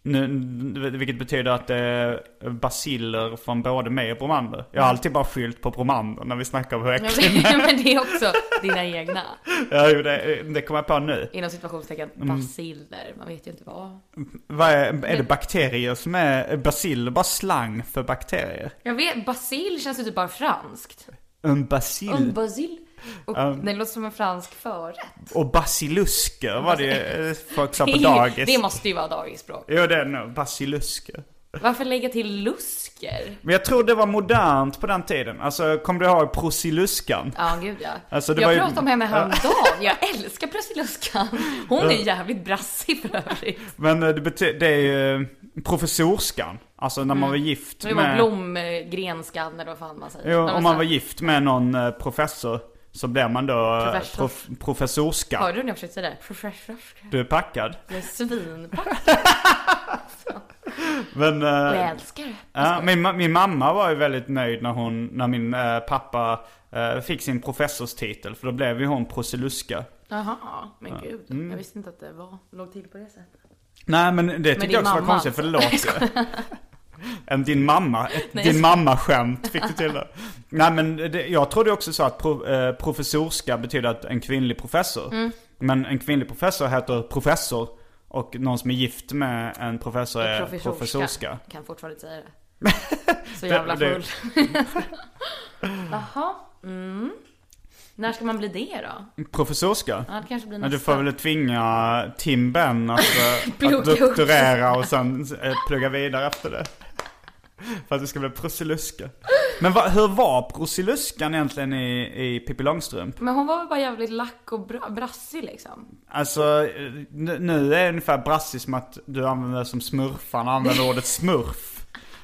[SPEAKER 1] nu, vilket betyder att det är basiller från både mig och Bromander. Jag har alltid bara skyllt på Bromander när vi snackar om hur
[SPEAKER 2] Mm. Men
[SPEAKER 1] äckligt...
[SPEAKER 2] det- men det är också dina egna,
[SPEAKER 1] Ja, jo, det, det kommer jag på nu.
[SPEAKER 2] inom situationstecken,
[SPEAKER 1] Mm.
[SPEAKER 2] basiller. Man vet ju inte vad.
[SPEAKER 1] Vad är, är det bakterier som är... är Basiller bara slang för bakterier?
[SPEAKER 2] Jag vet, basil känns ju typ bara franskt.
[SPEAKER 1] En basil...
[SPEAKER 2] Um, basil. Och det låter som en fransk förrätt.
[SPEAKER 1] Och basilusker var det ju eh, folk sa på
[SPEAKER 2] Det,
[SPEAKER 1] dagis.
[SPEAKER 2] det måste ju vara dagisspråk.
[SPEAKER 1] Jo det är nog basilusker.
[SPEAKER 2] Varför lägga till lusker?
[SPEAKER 1] Men jag tror det var modernt på den tiden. Alltså kommer du ihåg prosiluskan?
[SPEAKER 2] Ja, gud ja.
[SPEAKER 1] Alltså, det
[SPEAKER 2] jag
[SPEAKER 1] var ju-
[SPEAKER 2] pratade om henne häromdagen. Jag älskar Brasiluskan. Hon är jävligt brassig för övrigt.
[SPEAKER 1] Men eh, det, bety- det är ju professorskan. Alltså när man var gift
[SPEAKER 2] Mm. Det var blomgrenskan eller vad fan man säger. alltså,
[SPEAKER 1] Jo,
[SPEAKER 2] När
[SPEAKER 1] om man
[SPEAKER 2] sa-
[SPEAKER 1] var gift med någon eh, professor så blev man då eh,
[SPEAKER 2] Professor.
[SPEAKER 1] prof- professorskan.
[SPEAKER 2] Hörde du när jag försökte säga det? Professorska.
[SPEAKER 1] Du är packad.
[SPEAKER 2] Jag är svinpackad.
[SPEAKER 1] Men, eh,
[SPEAKER 2] Jag älskar det.
[SPEAKER 1] Ja, min, ma- min mamma var ju väldigt nöjd när, hon, när min eh, pappa eh, fick sin professorstitel. För då blev ju hon prosiluska.
[SPEAKER 2] Jaha, men gud.
[SPEAKER 1] Mm.
[SPEAKER 2] Jag visste inte att det var, låg till på det sättet.
[SPEAKER 1] Nej men det tyckte
[SPEAKER 2] din
[SPEAKER 1] jag också var
[SPEAKER 2] mamma alltså.
[SPEAKER 1] konstigt för det låter ju. En din mamma, ett
[SPEAKER 2] Nej, jag
[SPEAKER 1] din mamma-skämt fick du till det. Nej men det, jag trodde också så att pro, eh, professorska betyder att en kvinnlig professor.
[SPEAKER 2] Mm.
[SPEAKER 1] Men en kvinnlig professor heter professor. Och någon som är gift med en professor är
[SPEAKER 2] Professorska.
[SPEAKER 1] professorska.
[SPEAKER 2] Kan fortfarande inte säga det. Så jävla
[SPEAKER 1] det-
[SPEAKER 2] full. Jaha. Mm. När ska man bli det då?
[SPEAKER 1] Professorska?
[SPEAKER 2] Ja, det kanske blir
[SPEAKER 1] Men
[SPEAKER 2] nästa.
[SPEAKER 1] du får väl tvinga Tim Ben att, eh,
[SPEAKER 2] Plugga
[SPEAKER 1] att
[SPEAKER 2] upp.
[SPEAKER 1] doktorera och sen eh, plugga vidare efter det. För att du ska bli prosiluska. Men va, hur var prosiluskan egentligen i, i Pippi Långstrump?
[SPEAKER 2] Men hon var väl bara jävligt lack och bra, brassig liksom.
[SPEAKER 1] Alltså eh, nu, nu är det ungefär brassigt som att du använder det som smurfan använder ordet smurf.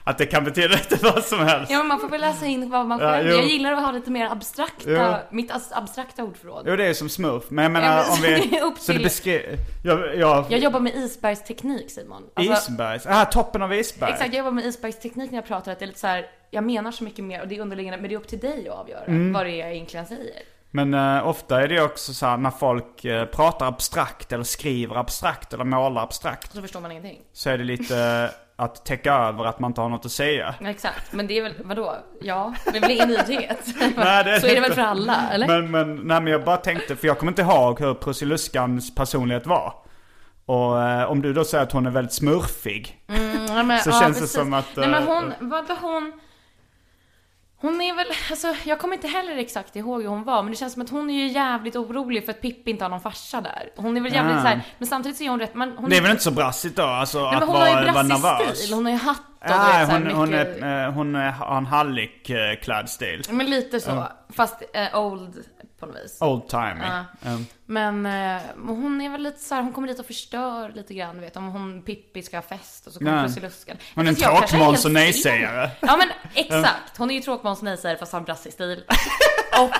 [SPEAKER 1] Att det kan betyda lite vad som helst.
[SPEAKER 2] Ja men man får väl läsa in vad man
[SPEAKER 1] Ja,
[SPEAKER 2] själv...
[SPEAKER 1] jo.
[SPEAKER 2] jag gillar att ha lite mer abstrakta,
[SPEAKER 1] Jo.
[SPEAKER 2] mitt as- abstrakta ordförråd.
[SPEAKER 1] Jo det är ju som smurf, men jag
[SPEAKER 2] Ja,
[SPEAKER 1] menar
[SPEAKER 2] men
[SPEAKER 1] om
[SPEAKER 2] så det
[SPEAKER 1] vi...
[SPEAKER 2] är upp
[SPEAKER 1] Så det
[SPEAKER 2] till-
[SPEAKER 1] beskriver... Jag, jag,
[SPEAKER 2] Jag jobbar med isbergsteknik Simon. Alltså,
[SPEAKER 1] Isbergs, ah, toppen av isberg.
[SPEAKER 2] Exakt, jag jobbar med isbergsteknik när jag pratar att det är lite så här, jag menar så mycket mer och det är underliggande, men det är upp till dig att avgöra
[SPEAKER 1] Mm.
[SPEAKER 2] vad det är jag egentligen säger.
[SPEAKER 1] Men eh, ofta är det också så här när folk eh, pratar abstrakt eller skriver abstrakt eller målar abstrakt.
[SPEAKER 2] Så förstår man ingenting.
[SPEAKER 1] Så är det lite eh, att täcka över att man inte har något att säga.
[SPEAKER 2] Ja, Exakt, men det är väl, vadå? Ja, det är väl ingen nyhet?
[SPEAKER 1] Nej, det är
[SPEAKER 2] så är det
[SPEAKER 1] inte.
[SPEAKER 2] väl för alla, eller?
[SPEAKER 1] Men, men, nej, men jag bara tänkte, för jag kommer inte ihåg hur Prussiluskans personlighet var. Och eh, om du då säger att hon är väldigt smurfig.
[SPEAKER 2] Mm, Ja, men,
[SPEAKER 1] Så
[SPEAKER 2] ja,
[SPEAKER 1] känns det
[SPEAKER 2] precis.
[SPEAKER 1] som att,
[SPEAKER 2] Nej men
[SPEAKER 1] eh,
[SPEAKER 2] hon, vadå hon... Hon är väl, alltså jag kommer inte heller exakt ihåg hur hon var, men det känns som att hon är ju jävligt orolig för att Pippi inte har någon farsa där. Hon är väl jävligt
[SPEAKER 1] Ah.
[SPEAKER 2] såhär, men samtidigt så är hon rätt, man, hon
[SPEAKER 1] Det är väl inte så brassigt då, alltså
[SPEAKER 2] Nej,
[SPEAKER 1] att
[SPEAKER 2] men hon har ju
[SPEAKER 1] vara, vara
[SPEAKER 2] brassig
[SPEAKER 1] nervös?
[SPEAKER 2] stil, hon har ju hatt och du
[SPEAKER 1] Nej,
[SPEAKER 2] vet, så här
[SPEAKER 1] hon, hon,
[SPEAKER 2] mycket- Mm.
[SPEAKER 1] är, eh, hon är, har en eh, hallickklädd stil.
[SPEAKER 2] Men lite så, fast eh, old på något vis.
[SPEAKER 1] Old timey.
[SPEAKER 2] Ja.
[SPEAKER 1] Mm.
[SPEAKER 2] Men eh, hon är väl lite så här, hon kommer dit och förstör lite grann, du vet om hon Pippi ska ha fest och så
[SPEAKER 1] Nej.
[SPEAKER 2] kommer Prussiluskan.
[SPEAKER 1] Hon är en
[SPEAKER 2] Fast jag kanske
[SPEAKER 1] tråkmåns
[SPEAKER 2] helt
[SPEAKER 1] och
[SPEAKER 2] fel.
[SPEAKER 1] nejsägare.
[SPEAKER 2] Ja men exakt, hon är ju tråkmåns och nejsägare fast har en brassig stil. och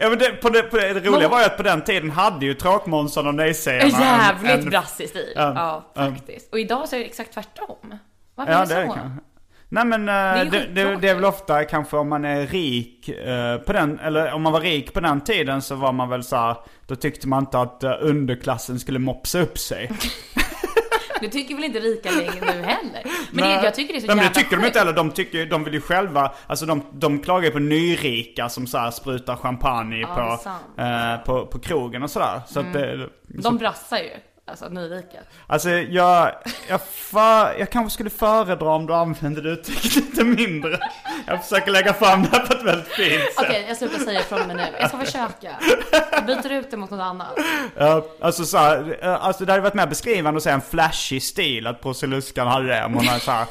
[SPEAKER 1] Ja men det, på det, på det, det roliga
[SPEAKER 2] Men-
[SPEAKER 1] var ju att på den tiden hade ju tråkmånsarna och nejsägarna
[SPEAKER 2] en
[SPEAKER 1] en-
[SPEAKER 2] jävligt
[SPEAKER 1] en-
[SPEAKER 2] brassig stil.
[SPEAKER 1] en-
[SPEAKER 2] ja,
[SPEAKER 1] en-
[SPEAKER 2] faktiskt. Och idag så är det exakt tvärtom. Varför
[SPEAKER 1] Ja
[SPEAKER 2] är det
[SPEAKER 1] det
[SPEAKER 2] så?
[SPEAKER 1] är det kanske. Nej men eh,
[SPEAKER 2] är
[SPEAKER 1] det, det,
[SPEAKER 2] skittråkigt.
[SPEAKER 1] det är väl ofta kanske om man är rik eh, på den, eller om man var rik på den tiden så var man väl så här, då tyckte man inte att eh, underklassen skulle mopsa upp sig.
[SPEAKER 2] Det tycker väl inte rika längre nu heller. Men
[SPEAKER 1] Nej.
[SPEAKER 2] det, jag tycker det är så
[SPEAKER 1] Nej, men
[SPEAKER 2] jävla
[SPEAKER 1] det tycker de
[SPEAKER 2] sjukt.
[SPEAKER 1] inte heller, de, tycker, ju- de vill ju själva, alltså de, de klagar ju på nyrika som så här sprutar champagne
[SPEAKER 2] Ja,
[SPEAKER 1] på,
[SPEAKER 2] sant. Mm.
[SPEAKER 1] eh, på, på krogen och sådär. Så att det,
[SPEAKER 2] De brassar ju, alltså nyrika.
[SPEAKER 1] Alltså jag, jag, för, jag kanske skulle föredra om du använder det uttrycket lite mindre. Jag försöker lägga fram det här på ett väldigt fint sätt.
[SPEAKER 2] Okej, jag slutar säga från och med nu. Jag ska försöka. Jag byter ut det mot något annat.
[SPEAKER 1] Ja, alltså, så här, eh, alltså det hade varit mer beskrivande att säga en flashig stil, att Prussiluskan hade det. Om hon hade så här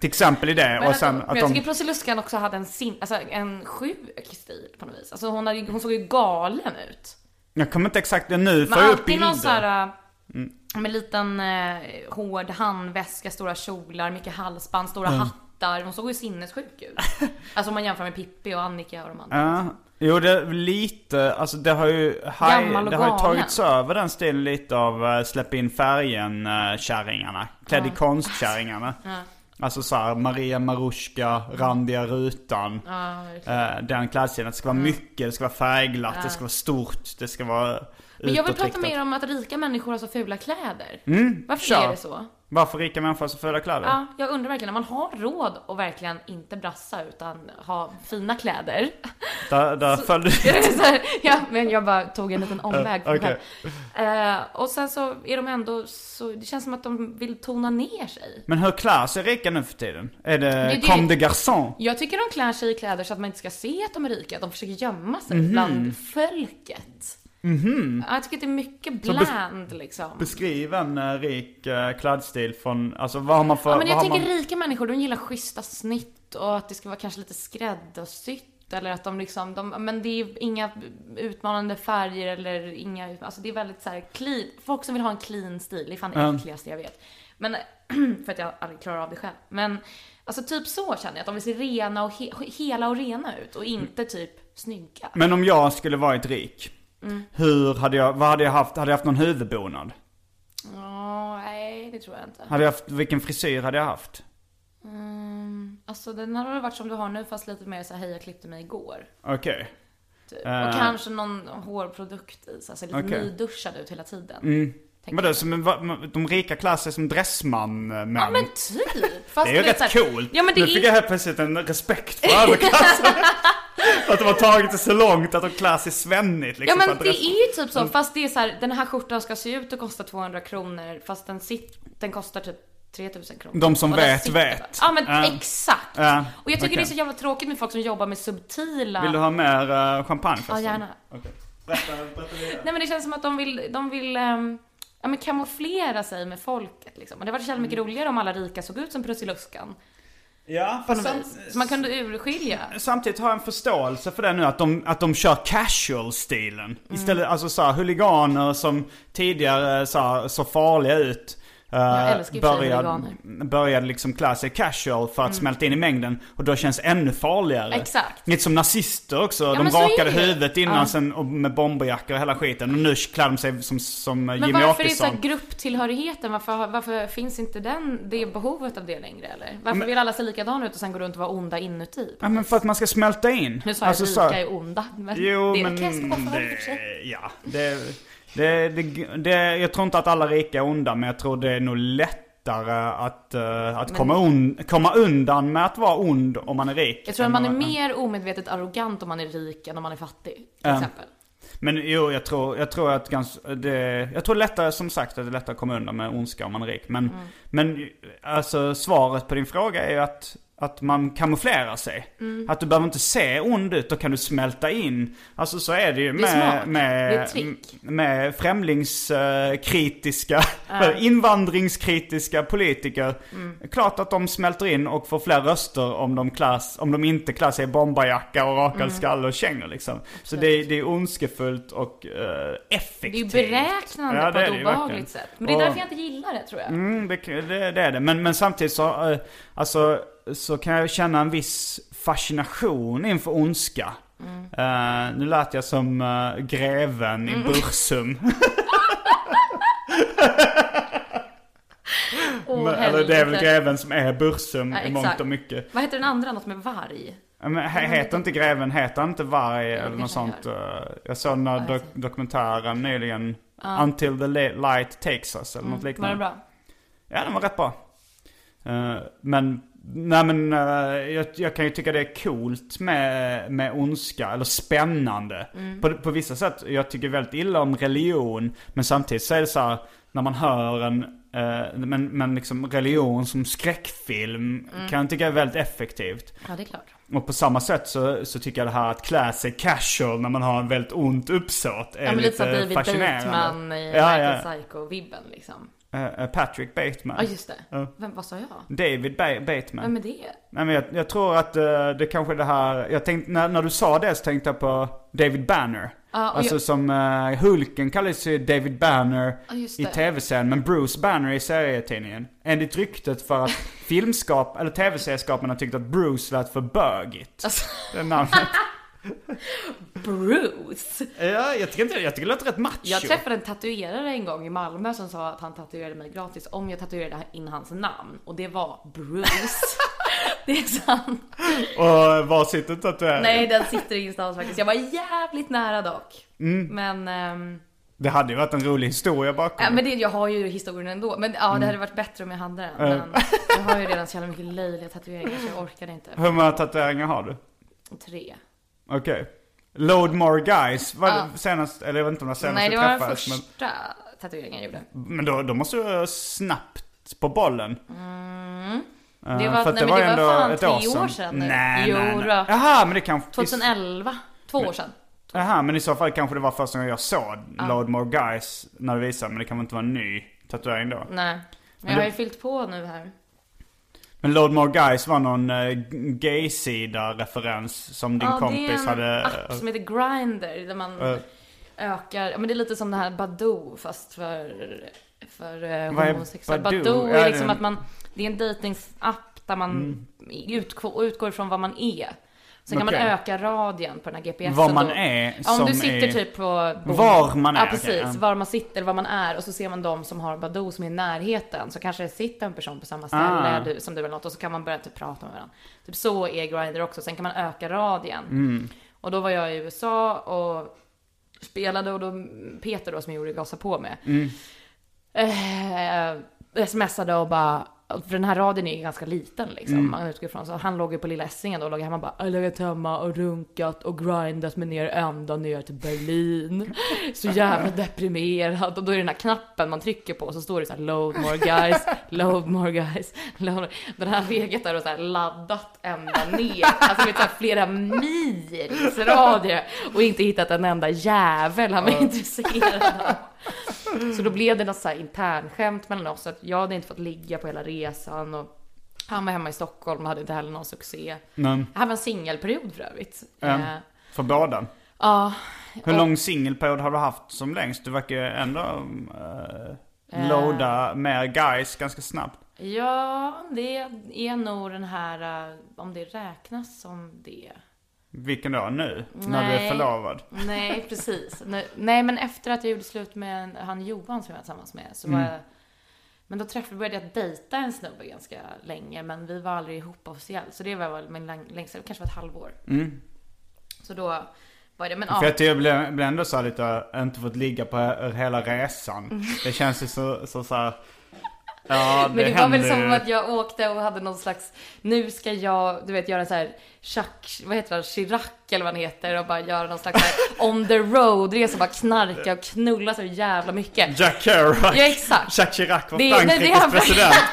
[SPEAKER 1] Till exempel i det.
[SPEAKER 2] Men,
[SPEAKER 1] och sen
[SPEAKER 2] att,
[SPEAKER 1] att
[SPEAKER 2] men jag
[SPEAKER 1] de...
[SPEAKER 2] tycker Prussiluskan också hade en, sin, alltså, en sjuk stil på något vis. Alltså, hon, hade, hon såg ju galen ut.
[SPEAKER 1] Jag kommer inte exakt... Nu
[SPEAKER 2] Men
[SPEAKER 1] får jag upp Mm.
[SPEAKER 2] alltid
[SPEAKER 1] bilder.
[SPEAKER 2] någon så här... äh, Med liten eh, hård handväska, stora kjolar, mycket halsband, stora
[SPEAKER 1] Mm.
[SPEAKER 2] hattar. Hon såg ju sinnessjuk ut. alltså om man jämför med Pippi och Annika och de andra.
[SPEAKER 1] Ja. Jo, det lite, alltså det har ju, haj,
[SPEAKER 2] Gammal och
[SPEAKER 1] det har ju
[SPEAKER 2] galen.
[SPEAKER 1] tagits över den stilen lite av eh, släpp in eh, färgen-kärringarna. Klädd i konstkärringarna. Alltså så här, Maria Marushka, randiga rutan.
[SPEAKER 2] Ja, verkligen.
[SPEAKER 1] Eh, den klädstilen. Det ska vara mycket, det ska vara färgglatt, det ska vara stort, det ska vara
[SPEAKER 2] Men jag vill prata
[SPEAKER 1] utåtriktat.
[SPEAKER 2] mer om att rika människor har så fula kläder. Varför
[SPEAKER 1] Mm, kör.
[SPEAKER 2] är det så?
[SPEAKER 1] Varför rika människor har så fula kläder?
[SPEAKER 2] Ja, jag undrar verkligen, om man har råd att verkligen inte brassa utan ha fina kläder.
[SPEAKER 1] Där, där följde...
[SPEAKER 2] så här, ja, men jag bara tog en liten omväg för mig
[SPEAKER 1] Okej.
[SPEAKER 2] själv. Eh, och sen så är de ändå så, det känns som att de vill tona ner sig.
[SPEAKER 1] Men hur klär sig rika nu för tiden? Är det,
[SPEAKER 2] det-
[SPEAKER 1] comme des garçons?
[SPEAKER 2] Jag tycker de klär sig i kläder så att man inte ska se att de är rika, att de försöker gömma sig bland folket. mm Jag tycker att det är mycket bland liksom.
[SPEAKER 1] Beskriv en eh, rik eh, klädstil från, alltså vad har man för...
[SPEAKER 2] Ja, men
[SPEAKER 1] vad
[SPEAKER 2] jag
[SPEAKER 1] har
[SPEAKER 2] tänker
[SPEAKER 1] man...
[SPEAKER 2] rika människor, de gillar schyssta snitt och att det ska vara kanske lite skräddarsytt eller att de liksom, de, men det är ju inga utmanande färger eller inga, alltså det är väldigt så här clean, folk som vill ha en clean stil, det är fan det
[SPEAKER 1] Mm.
[SPEAKER 2] äckligaste jag vet. Men, för att jag aldrig klarar av det själv. Men, alltså typ så känner jag, att de vill se rena och he, hela och rena ut och inte typ snygga.
[SPEAKER 1] Mm. Men om jag skulle varit rik,
[SPEAKER 2] Mm.
[SPEAKER 1] hur hade jag, vad hade jag haft, hade jag haft någon huvudbonad?
[SPEAKER 2] Ja, nej det tror jag inte.
[SPEAKER 1] Hade jag haft, vilken frisyr hade jag haft?
[SPEAKER 2] Mm, alltså den hade väl varit som du har nu fast lite mer så här, hej jag klippte mig igår.
[SPEAKER 1] Okej.
[SPEAKER 2] Typ.
[SPEAKER 1] Eh.
[SPEAKER 2] Och kanske någon hårprodukt i, så alltså lite
[SPEAKER 1] Okej. Mm.
[SPEAKER 2] nyduschad ut hela tiden. tänker
[SPEAKER 1] Men det är
[SPEAKER 2] jag.
[SPEAKER 1] som en, va- de rika klär sig som dressman-män.
[SPEAKER 2] Ja men typ! Fast
[SPEAKER 1] Mm. det är ju
[SPEAKER 2] du vet
[SPEAKER 1] rätt
[SPEAKER 2] så här-
[SPEAKER 1] coolt.
[SPEAKER 2] Ja men det
[SPEAKER 1] nu fick
[SPEAKER 2] är...
[SPEAKER 1] jag helt plötsligt en respekt för överklassen. att de har tagit det så långt att de klär sig svennigt
[SPEAKER 2] Ja
[SPEAKER 1] liksom. för
[SPEAKER 2] men
[SPEAKER 1] att
[SPEAKER 2] det
[SPEAKER 1] dress-
[SPEAKER 2] är ju typ så, fast det är så här, den här skjortan ska se ut och kosta 200 kronor fast den, sit, den kostar typ 3000 kronor.
[SPEAKER 1] De som
[SPEAKER 2] Och den
[SPEAKER 1] vet,
[SPEAKER 2] sitter
[SPEAKER 1] vet.
[SPEAKER 2] bara. Ja men
[SPEAKER 1] Ja.
[SPEAKER 2] exakt!
[SPEAKER 1] Ja,
[SPEAKER 2] Och jag tycker
[SPEAKER 1] okej.
[SPEAKER 2] det är så jävla tråkigt med folk som jobbar med subtila...
[SPEAKER 1] Vill du ha mer eh, champagne förresten?
[SPEAKER 2] Ja gärna.
[SPEAKER 1] Okej. Berätta, berätta vidare.
[SPEAKER 2] Nej men det känns som att de vill, de vill ehm, ja, men kamouflera sig med folket liksom. Och det var så jävla mycket
[SPEAKER 1] Mm.
[SPEAKER 2] roligare om alla rika såg ut som Prussiluskan.
[SPEAKER 1] Ja,
[SPEAKER 2] På
[SPEAKER 1] fast
[SPEAKER 2] något
[SPEAKER 1] sam-
[SPEAKER 2] vis. Så man kunde urskilja.
[SPEAKER 1] samtidigt har jag en förståelse för det nu att de, att de kör casual-stilen. Istället,
[SPEAKER 2] Mm.
[SPEAKER 1] alltså såhär huliganer som tidigare såhär, så farliga ut. eh,
[SPEAKER 2] Jag älskar ju för sig Mm.
[SPEAKER 1] började, började liksom klä sig casual för att smälta in i mängden och då känns ännu farligare.
[SPEAKER 2] Exakt.
[SPEAKER 1] Lite som nazister också. de
[SPEAKER 2] men så är
[SPEAKER 1] rakade
[SPEAKER 2] det ju.
[SPEAKER 1] huvudet innan
[SPEAKER 2] Ja.
[SPEAKER 1] sen, och med bomberjackor och hela skiten. Och nu klär de sig som, som
[SPEAKER 2] Men
[SPEAKER 1] Jimmy
[SPEAKER 2] varför är det så
[SPEAKER 1] Åkesson.
[SPEAKER 2] här grupptillhörigheten, varför, har- varför finns inte den, det behovet av det längre eller? Varför vill alla se likadana ut och sen gå runt och vara onda inuti?
[SPEAKER 1] Ja men för att man ska smälta in.
[SPEAKER 2] Nu sa jag
[SPEAKER 1] Alltså,
[SPEAKER 2] att
[SPEAKER 1] så här-
[SPEAKER 2] rika är onda, men
[SPEAKER 1] Jo,
[SPEAKER 2] det är
[SPEAKER 1] men
[SPEAKER 2] okej, jag ska bara få det i och för sig.
[SPEAKER 1] det, ja, det, det, det, det, jag tror inte att alla rika är onda, men jag tror det är nog lättare att, eh, att komma, un, komma undan med att vara ond om man är rik.
[SPEAKER 2] Jag tror
[SPEAKER 1] än
[SPEAKER 2] att man är
[SPEAKER 1] om-
[SPEAKER 2] mer omedvetet arrogant om man är rik än om man är fattig. Till
[SPEAKER 1] Ja.
[SPEAKER 2] exempel.
[SPEAKER 1] Men jo, jag tror, jag tror att ganska, det, jag tror lättare, som sagt, att det är lättare att komma undan med ondska om man är rik. Men,
[SPEAKER 2] Mm.
[SPEAKER 1] men alltså svaret på din fråga är ju att, att man kamouflerar sig.
[SPEAKER 2] Mm.
[SPEAKER 1] Att du behöver inte se ond ut, då kan du smälta in. Alltså så är det ju
[SPEAKER 2] Det är
[SPEAKER 1] med,
[SPEAKER 2] smart. Det är
[SPEAKER 1] med,
[SPEAKER 2] ett trick.
[SPEAKER 1] med främlingskritiska, invandringskritiska politiker.
[SPEAKER 2] Mm.
[SPEAKER 1] Klart att de smälter in och får fler röster om de, klass, om de inte klär sig i bombarjacka och rakad
[SPEAKER 2] Mm.
[SPEAKER 1] skalle och kängor liksom. Så det, är- det är ondskefullt och eh,
[SPEAKER 2] Det är ju
[SPEAKER 1] effektivt.
[SPEAKER 2] beräknande
[SPEAKER 1] Ja,
[SPEAKER 2] på
[SPEAKER 1] det
[SPEAKER 2] ett
[SPEAKER 1] är det ju verkligen.
[SPEAKER 2] obehagligt sätt. Men det är
[SPEAKER 1] Och-
[SPEAKER 2] därför jag inte gillar det tror jag.
[SPEAKER 1] Mm, det, det, det är det. Men, men samtidigt så, eh, alltså, så kan jag känna en viss fascination inför ondska.
[SPEAKER 2] Mm.
[SPEAKER 1] Eh, nu lät jag som eh, greven i Bursum.
[SPEAKER 2] Åh,
[SPEAKER 1] Men- Eller det är väl
[SPEAKER 2] helvete.
[SPEAKER 1] greven som är Bursum
[SPEAKER 2] Ja,
[SPEAKER 1] i
[SPEAKER 2] exakt.
[SPEAKER 1] mångt och mycket.
[SPEAKER 2] Vad heter den andra? Något med varg?
[SPEAKER 1] Men he- heter inte greven, heter han inte varg eller något
[SPEAKER 2] kanske han
[SPEAKER 1] sånt? eh, Jag såg den här
[SPEAKER 2] jag
[SPEAKER 1] dok- dokumentären nyligen. Until the la- light takes us eller något
[SPEAKER 2] Mm, Var
[SPEAKER 1] liknande.
[SPEAKER 2] det bra?
[SPEAKER 1] Ja, den var rätt bra. Eh, men, nej men eh, jag, jag kan ju tycka det är coolt med, med ondska, eller spännande.
[SPEAKER 2] Mm.
[SPEAKER 1] På, på vissa sätt, jag tycker väldigt illa om religion, men samtidigt så är det så här, när man hör en, eh,
[SPEAKER 2] Mm.
[SPEAKER 1] men, men liksom religion som skräckfilm kan jag tycka är väldigt effektivt.
[SPEAKER 2] Ja, det är klart.
[SPEAKER 1] Och på samma sätt så, så tycker jag det här att klä sig casual när man har en väldigt ont uppsåt är
[SPEAKER 2] Ja, men lite så
[SPEAKER 1] lite,
[SPEAKER 2] David
[SPEAKER 1] fascinerande.
[SPEAKER 2] Bateman i
[SPEAKER 1] ja,
[SPEAKER 2] American
[SPEAKER 1] ja.
[SPEAKER 2] Psycho-vibben liksom.
[SPEAKER 1] Eh, eh, Patrick Bateman.
[SPEAKER 2] Ja, just det.
[SPEAKER 1] Ja.
[SPEAKER 2] Vem, vad sa jag?
[SPEAKER 1] David ba- Bateman.
[SPEAKER 2] Vem är det?
[SPEAKER 1] Nej men jag, jag tror att eh, det kanske är det här, jag tänkte, när, när du sa det så tänkte jag på David Banner.
[SPEAKER 2] Ja, och
[SPEAKER 1] alltså
[SPEAKER 2] jag-
[SPEAKER 1] som eh, Hulken kallades ju David Banner
[SPEAKER 2] Ja, just
[SPEAKER 1] i
[SPEAKER 2] det.
[SPEAKER 1] tv-serien, men Bruce Banner i serietidningen. Enligt ryktet för att filmskap, eller tv-serieskaparna tyckte att Bruce lät för bögigt.
[SPEAKER 2] Alltså,
[SPEAKER 1] Det namnet.
[SPEAKER 2] Bruce!
[SPEAKER 1] ja, jag tycker inte, jag tycker det låter rätt macho.
[SPEAKER 2] Jag träffade en tatuerare en gång i Malmö som sa att han tatuerade mig gratis om jag tatuerade in hans namn. Och det var Bruce. det är sant.
[SPEAKER 1] Och var sitter tatueringen?
[SPEAKER 2] Nej, den sitter ingenstans faktiskt. Jag var jävligt nära dock.
[SPEAKER 1] Mm.
[SPEAKER 2] Men, ehm,
[SPEAKER 1] Det hade ju varit en rolig historia bakom.
[SPEAKER 2] ja, men det, jag har ju historien ändå. Men ja,
[SPEAKER 1] Mm.
[SPEAKER 2] det hade varit bättre om jag hade den. Men jag har ju redan så jävla mycket löjliga tatueringar så jag orkade inte.
[SPEAKER 1] Hur många tatueringar har du?
[SPEAKER 2] Tre.
[SPEAKER 1] Okej. Load more guys var det senast, eller jag vet inte om det var senast
[SPEAKER 2] Nej,
[SPEAKER 1] vi
[SPEAKER 2] det var den
[SPEAKER 1] träffades,
[SPEAKER 2] första tatueringen jag gjorde.
[SPEAKER 1] Men, men då, då måste du vara snabbt på bollen. Eh,
[SPEAKER 2] Mm. Det var-
[SPEAKER 1] för att
[SPEAKER 2] nej, men det
[SPEAKER 1] ju
[SPEAKER 2] var
[SPEAKER 1] ändå
[SPEAKER 2] fan
[SPEAKER 1] ett
[SPEAKER 2] tre år sedan nu.
[SPEAKER 1] Nej,
[SPEAKER 2] Jo
[SPEAKER 1] nej, nej.
[SPEAKER 2] då.
[SPEAKER 1] Jaha, men det kanske...
[SPEAKER 2] 2011. Två år sedan.
[SPEAKER 1] Jaha, men i så fall kanske det var första gången jag såg Load more guys när du visade, men det kan väl inte vara en ny tatuering då?
[SPEAKER 2] Nej. Men jag har ju fyllt på nu här.
[SPEAKER 1] Men Load more guys var någon uh, gay-sida-referens som din kompis
[SPEAKER 2] det är en
[SPEAKER 1] hade...
[SPEAKER 2] app som heter Grindr där man
[SPEAKER 1] Eh.
[SPEAKER 2] ökar, ja, men det är lite som det här Badoo fast för, för eh,
[SPEAKER 1] Vad är
[SPEAKER 2] homosexuella.
[SPEAKER 1] Badoo?
[SPEAKER 2] Badoo,
[SPEAKER 1] Ja, det
[SPEAKER 2] är
[SPEAKER 1] är
[SPEAKER 2] liksom
[SPEAKER 1] en- Mm.
[SPEAKER 2] att man, det är en datingsapp där man utgår, utgår från vad man är. Sen kan
[SPEAKER 1] Okej.
[SPEAKER 2] man öka radien på den här GPSen.
[SPEAKER 1] Vad man
[SPEAKER 2] då.
[SPEAKER 1] är
[SPEAKER 2] Ja, om du
[SPEAKER 1] som
[SPEAKER 2] sitter
[SPEAKER 1] är-
[SPEAKER 2] typ på...
[SPEAKER 1] Var man är,
[SPEAKER 2] Ja,
[SPEAKER 1] okej,
[SPEAKER 2] precis.
[SPEAKER 1] ja.
[SPEAKER 2] Alltså Var man sitter, eller var man är. Och så ser man de som har Badoo som är i närheten. Så kanske det sitter en person på samma ställe
[SPEAKER 1] Ah.
[SPEAKER 2] du, som du eller något. Och så kan man börja typ prata med varandra. Typ så är Grindr också. Sen kan man öka radien. Och då var jag i USA och spelade och då Peter då som jag gjorde Gasa på med. Eh, smsade och bara, för den här radien är ju ganska liten liksom. Man utgår från, så han låg ju på lilla Essingen då och låg hemma och bara, "Äh, jag har legat hemma och runkat och grindat mig ner ända ner till Berlin. Så jävla deprimerad. Och då är det den här knappen man trycker på och så står det så här load more guys, load more guys, load more. Den här legat där och så här laddat ända ner. Alltså vet du, så här flera mils radie och inte hittat en enda jävel han var intresserad av. Så då blev det något så här internskämt mellan oss. Att jag hade inte fått ligga på hela resan. Och han var hemma i Stockholm och hade inte heller någon succé.
[SPEAKER 1] Nej.
[SPEAKER 2] Det här var en singelperiod för övrigt.
[SPEAKER 1] Ja.
[SPEAKER 2] Eh,
[SPEAKER 1] För båda.
[SPEAKER 2] Ja.
[SPEAKER 1] Hur lång singelperiod har du haft som längst? Du verkar ju ändå
[SPEAKER 2] Eh.
[SPEAKER 1] äh, loada mer guys ganska snabbt.
[SPEAKER 2] Ja, det är nog den här, eh, om det räknas som det.
[SPEAKER 1] Vilken då? Nu? När du är
[SPEAKER 2] Nej.
[SPEAKER 1] förlovad?
[SPEAKER 2] Nej, precis. Nej, Nej, men efter att jag gjorde slut med en- han Johan som jag var tillsammans med så var jag... Men då träffade, började jag dejta en snubbe ganska länge, men vi var aldrig ihop officiellt. Så det var väl min lang- längsta, det kanske var ett halvår. Så då var det, men ja.
[SPEAKER 1] För jag, tycker jag blev, blev ändå så här lite, äh, inte fått ligga på he- hela resan. Det känns ju så, så, så här. Ja, det,
[SPEAKER 2] Mm. Men det var väl
[SPEAKER 1] händer ju.
[SPEAKER 2] som att jag åkte och hade någon slags, nu ska jag, du vet, göra en så här Chuck, vad heter han, Chirac eller vad han heter och bara göra någon slags så här on the road-resa, bara knarka och knulla så jävla mycket.
[SPEAKER 1] Jack Kerouac.
[SPEAKER 2] Ja, exakt.
[SPEAKER 1] Jack Chirac var
[SPEAKER 2] Det- nej, det
[SPEAKER 1] Frankrikes
[SPEAKER 2] är han-
[SPEAKER 1] president.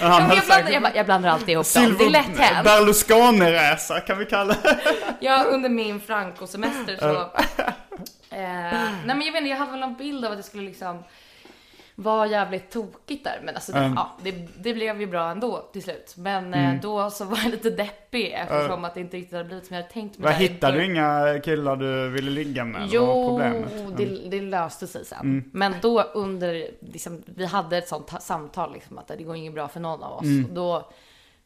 [SPEAKER 1] Men han
[SPEAKER 2] Ja, men
[SPEAKER 1] hade
[SPEAKER 2] jag, blandar,
[SPEAKER 1] säkert...
[SPEAKER 2] jag, bara, jag blandar alltid ihop dem, det är lätt
[SPEAKER 1] Silver
[SPEAKER 2] hänt.
[SPEAKER 1] Berlusconi-resa kan vi kalla det.
[SPEAKER 2] Jag under min Franco-semester så... eh, nej men jag vet inte, jag hade väl en bild av att det skulle liksom vara jävligt tokigt där. Men alltså det, ja, det, det blev ju bra ändå till slut. Men eh, då så var jag lite deppig eftersom att det inte riktigt hade blivit som jag hade tänkt mig.
[SPEAKER 1] Vad
[SPEAKER 2] där i
[SPEAKER 1] hittade du
[SPEAKER 2] början.
[SPEAKER 1] inga killar du ville ligga med? Vad var
[SPEAKER 2] Jo,
[SPEAKER 1] problemet?
[SPEAKER 2] det, det löste sig sen. Men då under, liksom, vi hade ett sånt ta- samtal liksom att det går inget bra för någon av oss. Och då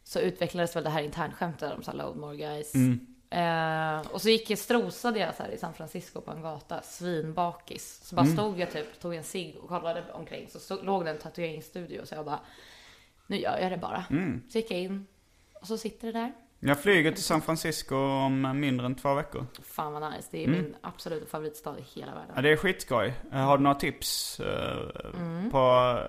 [SPEAKER 2] så utvecklades väl det här internskämtet om så här load more guys. Eh, och så gick jag, strosade jag så här i San Francisco på en gata, svinbakis. Så bara stod jag typ, tog en cigg och kollade omkring. Så stod, låg det en tatueringsstudio så jag bara, nu gör jag det bara. Så gick jag in och så sitter det där.
[SPEAKER 1] Jag flyger till San Francisco om mindre än två veckor.
[SPEAKER 2] Fan vad nice, det är min absoluta favoritstad i hela världen.
[SPEAKER 1] Ja, det är skitskoj. Eh, Har du några tips? eh,
[SPEAKER 2] Mm.
[SPEAKER 1] På,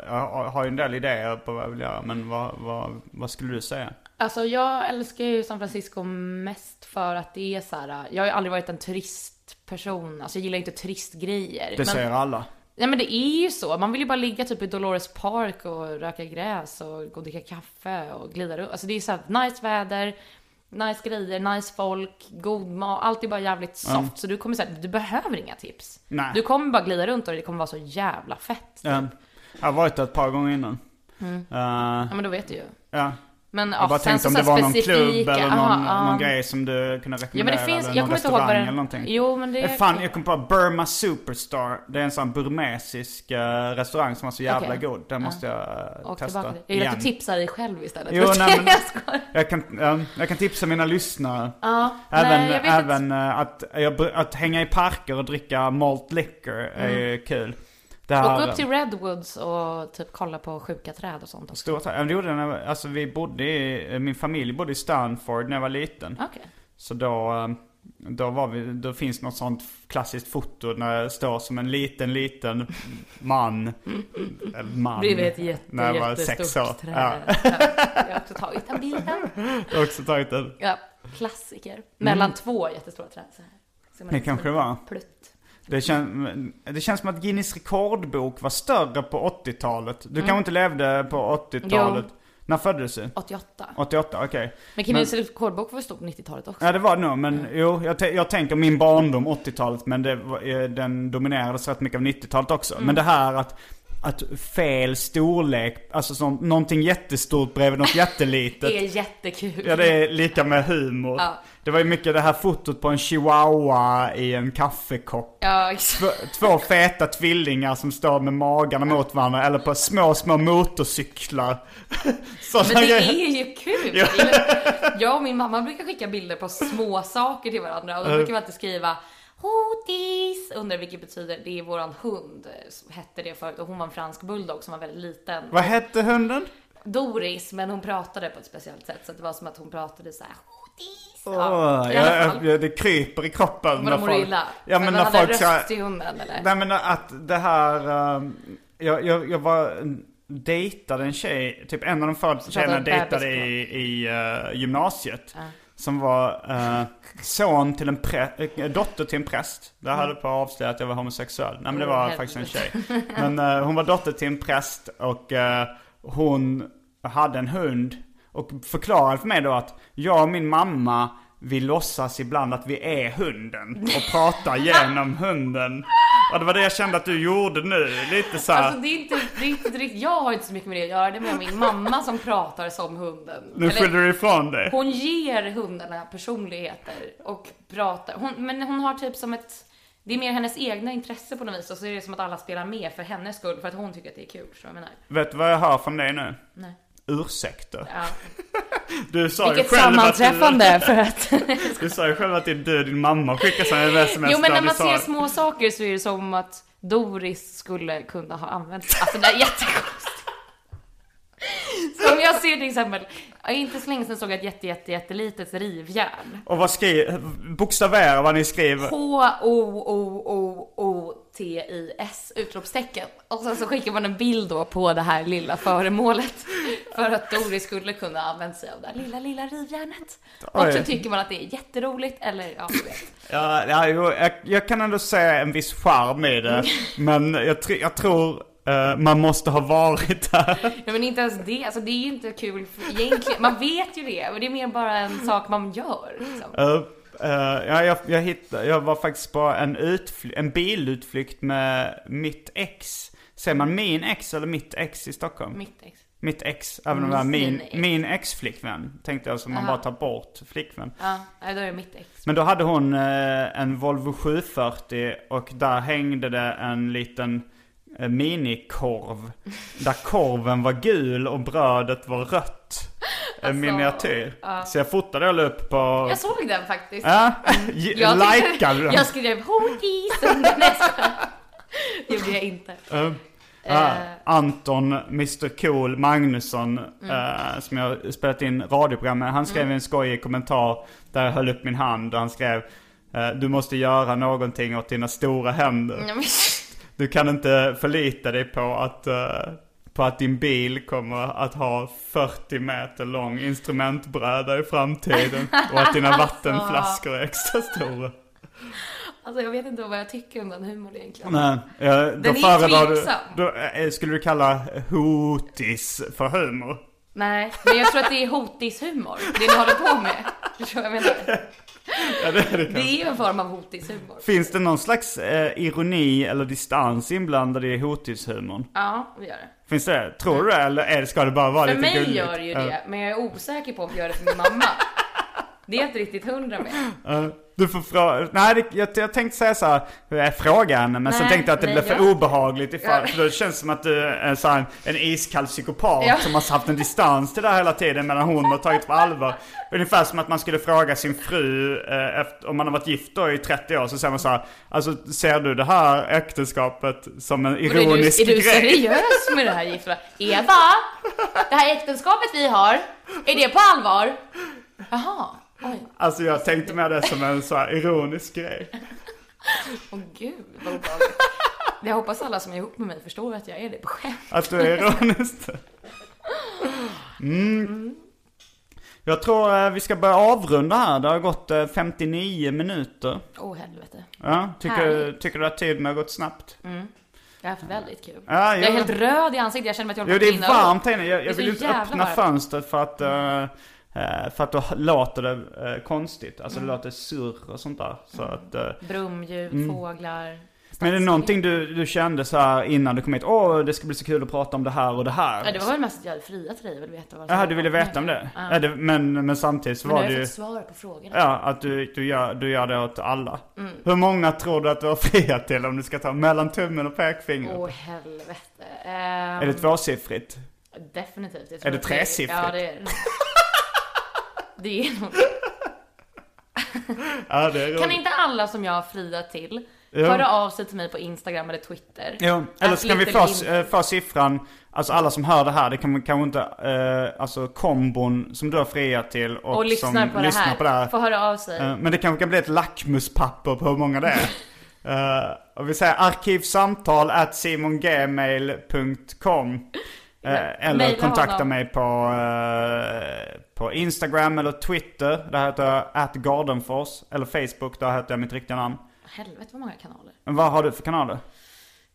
[SPEAKER 1] jag har- har ju en del idéer på vad jag vill göra, men vad, vad, vad skulle du säga?
[SPEAKER 2] Alltså jag älskar ju San Francisco mest för att det är så här. Jag har ju aldrig varit en turistperson. Alltså jag gillar inte turistgrejer.
[SPEAKER 1] Det
[SPEAKER 2] men,
[SPEAKER 1] säger alla.
[SPEAKER 2] Nej men det är ju så. Man vill ju bara ligga typ i Dolores Park och röka gräs och gå och dricka kaffe och glida runt. Alltså det är så här nice väder. nice grejer, nice folk, god mat. Allt är bara jävligt soft. Så du kommer säga, du behöver inga tips.
[SPEAKER 1] Nej.
[SPEAKER 2] Du kommer bara glida runt och det kommer vara så jävla fett.
[SPEAKER 1] Ja. Jag har varit där ett par gånger innan. Eh,
[SPEAKER 2] Ja men då vet du ju.
[SPEAKER 1] ja.
[SPEAKER 2] Men Mm. ja,
[SPEAKER 1] Jag bara
[SPEAKER 2] sen
[SPEAKER 1] tänkte
[SPEAKER 2] så
[SPEAKER 1] om det
[SPEAKER 2] så här
[SPEAKER 1] var någon
[SPEAKER 2] specifika-
[SPEAKER 1] klubb eller någon,
[SPEAKER 2] aha,
[SPEAKER 1] någon
[SPEAKER 2] ja.
[SPEAKER 1] grej som du kunde
[SPEAKER 2] Ja
[SPEAKER 1] rekommendera
[SPEAKER 2] men det finns,
[SPEAKER 1] eller
[SPEAKER 2] jag
[SPEAKER 1] någon
[SPEAKER 2] kommer inte ihåg vad
[SPEAKER 1] restaurang eller
[SPEAKER 2] den...
[SPEAKER 1] någonting.
[SPEAKER 2] Jo men det...
[SPEAKER 1] Eh, Fan, jag kom på Burma Superstar. Det är en sån burmesisk eh, restaurang som var så jävla
[SPEAKER 2] Okej.
[SPEAKER 1] god. Den måste jag eh,
[SPEAKER 2] Och
[SPEAKER 1] testa
[SPEAKER 2] tillbaka till. Jag gillar att du
[SPEAKER 1] igen.
[SPEAKER 2] tipsar dig själv istället.
[SPEAKER 1] Jo, nej, men-
[SPEAKER 2] jag skojar.
[SPEAKER 1] Jag kan, eh, jag kan tipsa mina lyssnare.
[SPEAKER 2] Ja,
[SPEAKER 1] Även,
[SPEAKER 2] nej, jag vet inte.
[SPEAKER 1] även eh, att, jag, br- att hänga i parker och dricka malt liquor är ju kul. Det här,
[SPEAKER 2] Gå Mm. upp till Redwoods och typ kolla på sjuka träd och sånt också.
[SPEAKER 1] Stora träd. Jag gjorde det när, jag var- alltså vi bodde i, eh, min familj bodde i Stanford när jag var liten.
[SPEAKER 2] Okej.
[SPEAKER 1] Så då, eh, då var vi, då finns något sånt klassiskt foto när jag står som en liten, liten man.
[SPEAKER 2] Mm.
[SPEAKER 1] eh, man.
[SPEAKER 2] Bredvid ett jätte,
[SPEAKER 1] när jag var sex år.
[SPEAKER 2] jättestort träd.
[SPEAKER 1] Ja,
[SPEAKER 2] Ja. Jag har också tagit den bilden.
[SPEAKER 1] jag har också tagit den.
[SPEAKER 2] Ja, klassiker. Mellan två jättestora träd så här. Så man
[SPEAKER 1] Mm. Det
[SPEAKER 2] liksom
[SPEAKER 1] kanske
[SPEAKER 2] en
[SPEAKER 1] det var.
[SPEAKER 2] Plutt.
[SPEAKER 1] Det, kän, det känns som att Guinness rekordbok var större på 80-talet. Du kanske inte levde på 80-talet? När föddes du?
[SPEAKER 2] 88.
[SPEAKER 1] 88, okej.
[SPEAKER 2] Men Kimmys rekordbok var ju stor på 90-talet också.
[SPEAKER 1] Ja det var det nog, men jo, jag, tän- jag tänker min barndom, 80-talet, men det, var- eh, den dominerades rätt mycket av 90-talet också. Men det här att, att fel storlek, alltså som någonting jättestort bredvid något jättelitet.
[SPEAKER 2] Det är jättekul.
[SPEAKER 1] Ja det är lika med humor.
[SPEAKER 2] Ja.
[SPEAKER 1] Det var ju mycket det här fotot på en chihuahua i en kaffekopp.
[SPEAKER 2] Ja, exakt.
[SPEAKER 1] Två- Två feta tvillingar som står med magarna mot varandra eller på små, små motorcyklar. Sådana
[SPEAKER 2] Men det
[SPEAKER 1] grejer.
[SPEAKER 2] är ju kul! Det är ju- Jag och min mamma brukar skicka bilder på små saker till varandra och då brukar vi alltid skriva Hotis! Undrar vilket betyder, det är våran hund, eh, hette det förut och hon var en fransk bulldog som var väldigt liten.
[SPEAKER 1] Vad hette hunden?
[SPEAKER 2] Doris, men hon pratade på ett speciellt sätt så att det var som att hon pratade så här Hotis!
[SPEAKER 1] Åh,
[SPEAKER 2] i alla
[SPEAKER 1] jag,
[SPEAKER 2] fall.
[SPEAKER 1] jag, det kryper i kroppen
[SPEAKER 2] Hon
[SPEAKER 1] när
[SPEAKER 2] bara mår
[SPEAKER 1] folk...
[SPEAKER 2] illa.
[SPEAKER 1] Ja men
[SPEAKER 2] Men
[SPEAKER 1] när
[SPEAKER 2] han hade
[SPEAKER 1] folk ska...
[SPEAKER 2] röst till hunden eller?
[SPEAKER 1] Nej men att det här... ehm, jag, jag, jag var... Dejtade en tjej, typ en av de få tjejerna jag
[SPEAKER 2] pratade
[SPEAKER 1] dejtade
[SPEAKER 2] bebisspråk.
[SPEAKER 1] i, i eh, gymnasiet. Som var eh, son till en prä, eh, dotter till en präst. Där hade på att avslöja att jag var homosexuell. Nej men det
[SPEAKER 2] Mm. Åh,
[SPEAKER 1] var
[SPEAKER 2] helvete.
[SPEAKER 1] faktiskt en tjej. Men eh, hon var dotter till en präst och eh, hon hade en hund. Och förklarade för mig då att jag och min mamma, vi låtsas ibland att vi är hunden och pratar genom hunden. Och det var det jag kände att du gjorde nu. Lite så här.
[SPEAKER 2] Alltså det är, inte, det är inte riktigt, jag har inte så mycket med det att göra, det är mer min mamma som pratar som hunden.
[SPEAKER 1] nu
[SPEAKER 2] Eller-
[SPEAKER 1] skyller du ifrån dig.
[SPEAKER 2] Hon ger hundarna personligheter och pratar. Hon, men hon har typ som ett... Det är mer hennes egna intresse på något vis och så är det som att alla spelar med för hennes skull för att hon tycker att det är kul. Så jag menar.
[SPEAKER 1] Vet du vad jag hör från dig nu?
[SPEAKER 2] Nej.
[SPEAKER 1] Ursäkter.
[SPEAKER 2] Ja.
[SPEAKER 1] Du sa
[SPEAKER 2] Vilket
[SPEAKER 1] ju själv Att
[SPEAKER 2] sammanträffande för att...
[SPEAKER 1] du, du sa ju själv att din, du, din mamma skickar sådana sms.
[SPEAKER 2] jo men
[SPEAKER 1] där
[SPEAKER 2] när
[SPEAKER 1] du
[SPEAKER 2] man
[SPEAKER 1] sa-
[SPEAKER 2] ser små saker så är det som att Doris skulle kunna ha använt Alltså det är jättekonstigt. Så om jag ser till exempel, inte så länge sedan såg jag ett jätte, jätte, jättelitet rivjärn.
[SPEAKER 1] Och vad skriver, bokstavera vad ni skriver.
[SPEAKER 2] H-O-O-O-O-T-I-S utropstecken. Och sen så skickar man en bild då på det här lilla föremålet. För att Doris skulle kunna använda sig av det här lilla, lilla rivjärnet. Och så
[SPEAKER 1] Oj.
[SPEAKER 2] tycker man att det är jätteroligt eller ja, du vet.
[SPEAKER 1] Ja, ja, jo, jag, jag kan ändå se en viss charm i det. Men jag, tr- jag tror eh, man måste ha varit där.
[SPEAKER 2] Nej, men inte ens det. Alltså det är ju inte kul för- egentligen. Man vet ju det, men det är mer bara en sak man gör. Liksom.
[SPEAKER 1] Eh, eh, ja, jag, jag, hittade, jag var faktiskt på en, utfly- en bilutflykt med mitt ex. Säger man min ex eller mitt ex i Stockholm?
[SPEAKER 2] Mitt ex.
[SPEAKER 1] Mitt ex, även om det var min,
[SPEAKER 2] Min ex.
[SPEAKER 1] min ex-flickvän. Tänkte jag, så man bara tar bort flickvän.
[SPEAKER 2] Ja, nej, då är det mitt ex.
[SPEAKER 1] Men då hade hon eh, en Volvo 740 och där hängde det en liten eh, minikorv. Där korven var gul och brödet var rött. En miniatyr. Så jag fotade och la upp på...
[SPEAKER 2] Alltså, Jag såg den faktiskt.
[SPEAKER 1] Ja, ge-
[SPEAKER 2] tyckte-
[SPEAKER 1] likade den.
[SPEAKER 2] Jag skrev hotis under nästa. Det gjorde jag inte.
[SPEAKER 1] Eh, ja, Anton, Mr Cool Magnusson, eh, som jag spelat in radioprogram med. Han skrev en skojig kommentar där jag höll upp min hand och han skrev eh, Du måste göra någonting åt dina stora händer.
[SPEAKER 2] Nej, men-
[SPEAKER 1] Du kan inte förlita dig på att, eh, på att din bil kommer att ha 40 meter lång instrumentbräda i framtiden. Och att dina vattenflaskor är extra stora.
[SPEAKER 2] Alltså jag vet inte vad jag tycker om den humorn egentligen.
[SPEAKER 1] Nej, eh, då
[SPEAKER 2] är
[SPEAKER 1] föredrar du,
[SPEAKER 2] tveksam.
[SPEAKER 1] då, eh, Skulle du kalla hotis för humor?
[SPEAKER 2] Nej, men jag tror att det är hotishumor, det ni håller på med. Förstår du vad jag menar?
[SPEAKER 1] Ja, det är det
[SPEAKER 2] Det
[SPEAKER 1] kanske.
[SPEAKER 2] är ju en form av hotishumor.
[SPEAKER 1] Finns det någon slags eh, ironi eller distans inblandad i hotellshumorn?
[SPEAKER 2] Ja, vi gör det.
[SPEAKER 1] Finns det? Tror du det? Eller är- ska det bara vara
[SPEAKER 2] För
[SPEAKER 1] lite
[SPEAKER 2] mig
[SPEAKER 1] gulligt?
[SPEAKER 2] gör det ju det, men jag är osäker på om jag gör det för min mamma. Det är jag inte riktigt hundra med.
[SPEAKER 1] Ja, ja. Eh, du får fråga... Nej, det, jag, jag tänkte säga så här, jag fråga henne, men sen
[SPEAKER 2] Nej,
[SPEAKER 1] tänkte jag att det
[SPEAKER 2] nej,
[SPEAKER 1] blev för
[SPEAKER 2] jag-
[SPEAKER 1] obehagligt ifall,
[SPEAKER 2] Ja.
[SPEAKER 1] för då känns det som att du är så här, en iskall psykopat
[SPEAKER 2] Ja.
[SPEAKER 1] som har haft en distans till det här hela tiden medan hon har tagit på allvar. Ungefär som att man skulle fråga sin fru, eh, efter, om man har varit gift då i 30 år, så säger man så här, alltså ser du det här äktenskapet som en
[SPEAKER 2] Och det Är du,
[SPEAKER 1] ironisk
[SPEAKER 2] är du
[SPEAKER 1] grej?
[SPEAKER 2] seriös med det här gifta? Eva! Det här äktenskapet vi har, är det på allvar? Jaha, oj.
[SPEAKER 1] Alltså jag tänkte med det som en så här ironisk grej.
[SPEAKER 2] Åh gud, vad obehagligt. Jag hoppas alla som är ihop med mig förstår att jag är det på skämt.
[SPEAKER 1] Att du är ironisk. Mm. Jag tror eh, vi ska börja avrunda här. Det har gått eh, 59 minuter.
[SPEAKER 2] Åh helvete.
[SPEAKER 1] Ja, tycker,
[SPEAKER 2] Härligt. Mm.
[SPEAKER 1] tycker du att tiden har gått snabbt?
[SPEAKER 2] Jag har haft väldigt kul.
[SPEAKER 1] Ja,
[SPEAKER 2] jag är
[SPEAKER 1] jo.
[SPEAKER 2] helt röd i ansiktet, jag känner mig att jag
[SPEAKER 1] Jo,
[SPEAKER 2] håller
[SPEAKER 1] det
[SPEAKER 2] på att
[SPEAKER 1] är
[SPEAKER 2] brinna
[SPEAKER 1] varmt här inne. Jag, jag
[SPEAKER 2] så
[SPEAKER 1] vill inte
[SPEAKER 2] jävla
[SPEAKER 1] öppna
[SPEAKER 2] varmt. Mm.
[SPEAKER 1] fönstret för att, eh, eh, för att då låter det eh, konstigt. Alltså
[SPEAKER 2] Mm.
[SPEAKER 1] det låter surr och sånt där. Så att, eh,
[SPEAKER 2] upp. Brumljud, fåglar.
[SPEAKER 1] men är det någonting du, du kände så här innan du kom hit? Åh, det ska bli så kul att prata om det här och det här.
[SPEAKER 2] Ja, det var väl mest att jag hade friat till dig, jag ville veta vad
[SPEAKER 1] Jaha, du ville veta om det?
[SPEAKER 2] Ja.
[SPEAKER 1] Ja. det men, men samtidigt så
[SPEAKER 2] Men nu
[SPEAKER 1] var
[SPEAKER 2] har
[SPEAKER 1] det
[SPEAKER 2] jag
[SPEAKER 1] ju...
[SPEAKER 2] fått svar på frågorna.
[SPEAKER 1] Ja, att du, du, gör, du gör det åt alla.
[SPEAKER 2] Mm.
[SPEAKER 1] Hur många tror du att du har friat till om du ska ta mellan tummen och pekfingret?
[SPEAKER 2] Åh helvete. Ehm,
[SPEAKER 1] Är det tvåsiffrigt?
[SPEAKER 2] Definitivt. Jag
[SPEAKER 1] Är det
[SPEAKER 2] att
[SPEAKER 1] tresiffrigt?
[SPEAKER 2] Ja, det är det. det. Är nog...
[SPEAKER 1] Ja, det är roligt.
[SPEAKER 2] Kan inte alla som jag har friat till
[SPEAKER 1] Ja.
[SPEAKER 2] höra av sig till mig på Instagram eller Twitter?
[SPEAKER 1] Jo, eller så kan vi få,
[SPEAKER 2] Absolut,
[SPEAKER 1] eh, få siffran, alltså alla som hör det här, det kan man kanske inte, eh, alltså kombon som du har friat till och,
[SPEAKER 2] Och
[SPEAKER 1] som
[SPEAKER 2] lyssnar på,
[SPEAKER 1] lyssnar
[SPEAKER 2] det här.
[SPEAKER 1] på det här.
[SPEAKER 2] Får höra av sig.
[SPEAKER 1] Eh, Men det kanske kan bli ett lackmuspapper på hur många det är. Eh, och vi säger arkivsamtal at simongmail.com eh, Eller
[SPEAKER 2] mejla
[SPEAKER 1] kontakta
[SPEAKER 2] honom.
[SPEAKER 1] mig på, eh, på Instagram eller Twitter. Där heter jag atgardenfors. Eller Facebook, där heter jag mitt riktiga namn.
[SPEAKER 2] Helvete vad många kanaler.
[SPEAKER 1] Men vad har du för kanaler?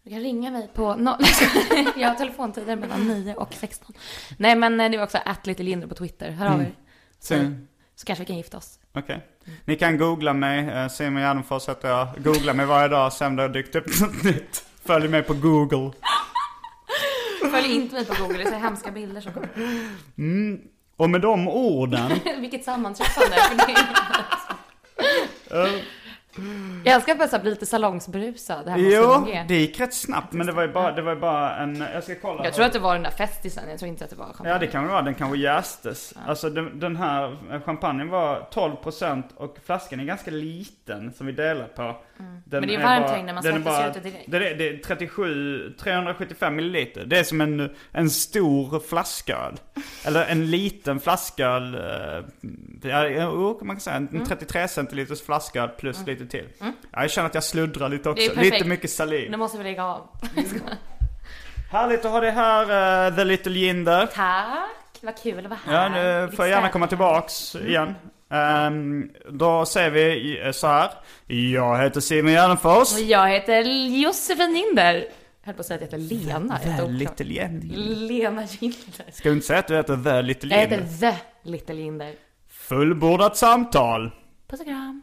[SPEAKER 2] Du kan ringa mig på no... Jag har telefontider mellan 9 och 16. Nej men eh, det var också att lite lindre på Twitter. Hör
[SPEAKER 1] Mm.
[SPEAKER 2] av er. Så,
[SPEAKER 1] Sim-
[SPEAKER 2] så kanske vi kan gifta oss.
[SPEAKER 1] Okej. Ni kan googla mig. eh, Simon Gärdenfors heter jag. Googla mig varje dag. Sen det har dykt upp något nytt. Följ mig på Google.
[SPEAKER 2] Följ inte mig på Google, det är så hemska bilder som kommer.
[SPEAKER 1] Och med de orden.
[SPEAKER 2] Vilket sammanträffande. För det Jag älskar att jag så här blir lite salongsberusad hemma hos
[SPEAKER 1] Jo,
[SPEAKER 2] Simon
[SPEAKER 1] det
[SPEAKER 2] G.
[SPEAKER 1] gick rätt snabbt men det var ju bara, det var ju bara en, jag ska kolla.
[SPEAKER 2] Jag tror att det var den där festisen, jag tror inte att det var champagne.
[SPEAKER 1] Ja det kan det vara, den kanske jästes. Alltså den, den här eh, champagnen var 12% och flaskan är ganska liten som vi delar på. Den
[SPEAKER 2] Mm. Men det är varmt här inne, man
[SPEAKER 1] den är
[SPEAKER 2] svettas ju
[SPEAKER 1] bara-
[SPEAKER 2] inte direkt.
[SPEAKER 1] Det är, det är 37, 375 milliliter. Det är som en, en stor flasköl. Eller en liten flasköl, eh, ja, jo, man kan säga en
[SPEAKER 2] Mm.
[SPEAKER 1] 33 centiliters flasköl plus lite till. Ja, jag känner att jag sluddrar lite
[SPEAKER 2] Det är
[SPEAKER 1] också,
[SPEAKER 2] perfekt.
[SPEAKER 1] lite mycket saliv.
[SPEAKER 2] Nu måste vi lägga av.
[SPEAKER 1] Härligt att ha dig här, eh, The Little Jinder.
[SPEAKER 2] Tack, vad kul att vara här.
[SPEAKER 1] Ja, nu får jag gärna komma tillbaks
[SPEAKER 2] Mm.
[SPEAKER 1] igen. Ehm, då säger vi eh, så här. Jag heter Simon Gärdenfors.
[SPEAKER 2] Och Jag heter Josefin Ginder. Jag höll på att säga att jag heter Lena. Jag
[SPEAKER 1] The
[SPEAKER 2] heter också-
[SPEAKER 1] Little Jinder.
[SPEAKER 2] Lena Ginder.
[SPEAKER 1] Ska du inte säga att du heter The Little
[SPEAKER 2] Jag heter
[SPEAKER 1] Jinder?
[SPEAKER 2] The Little Ginder.
[SPEAKER 1] Fullbordat samtal.
[SPEAKER 2] Puss och kram.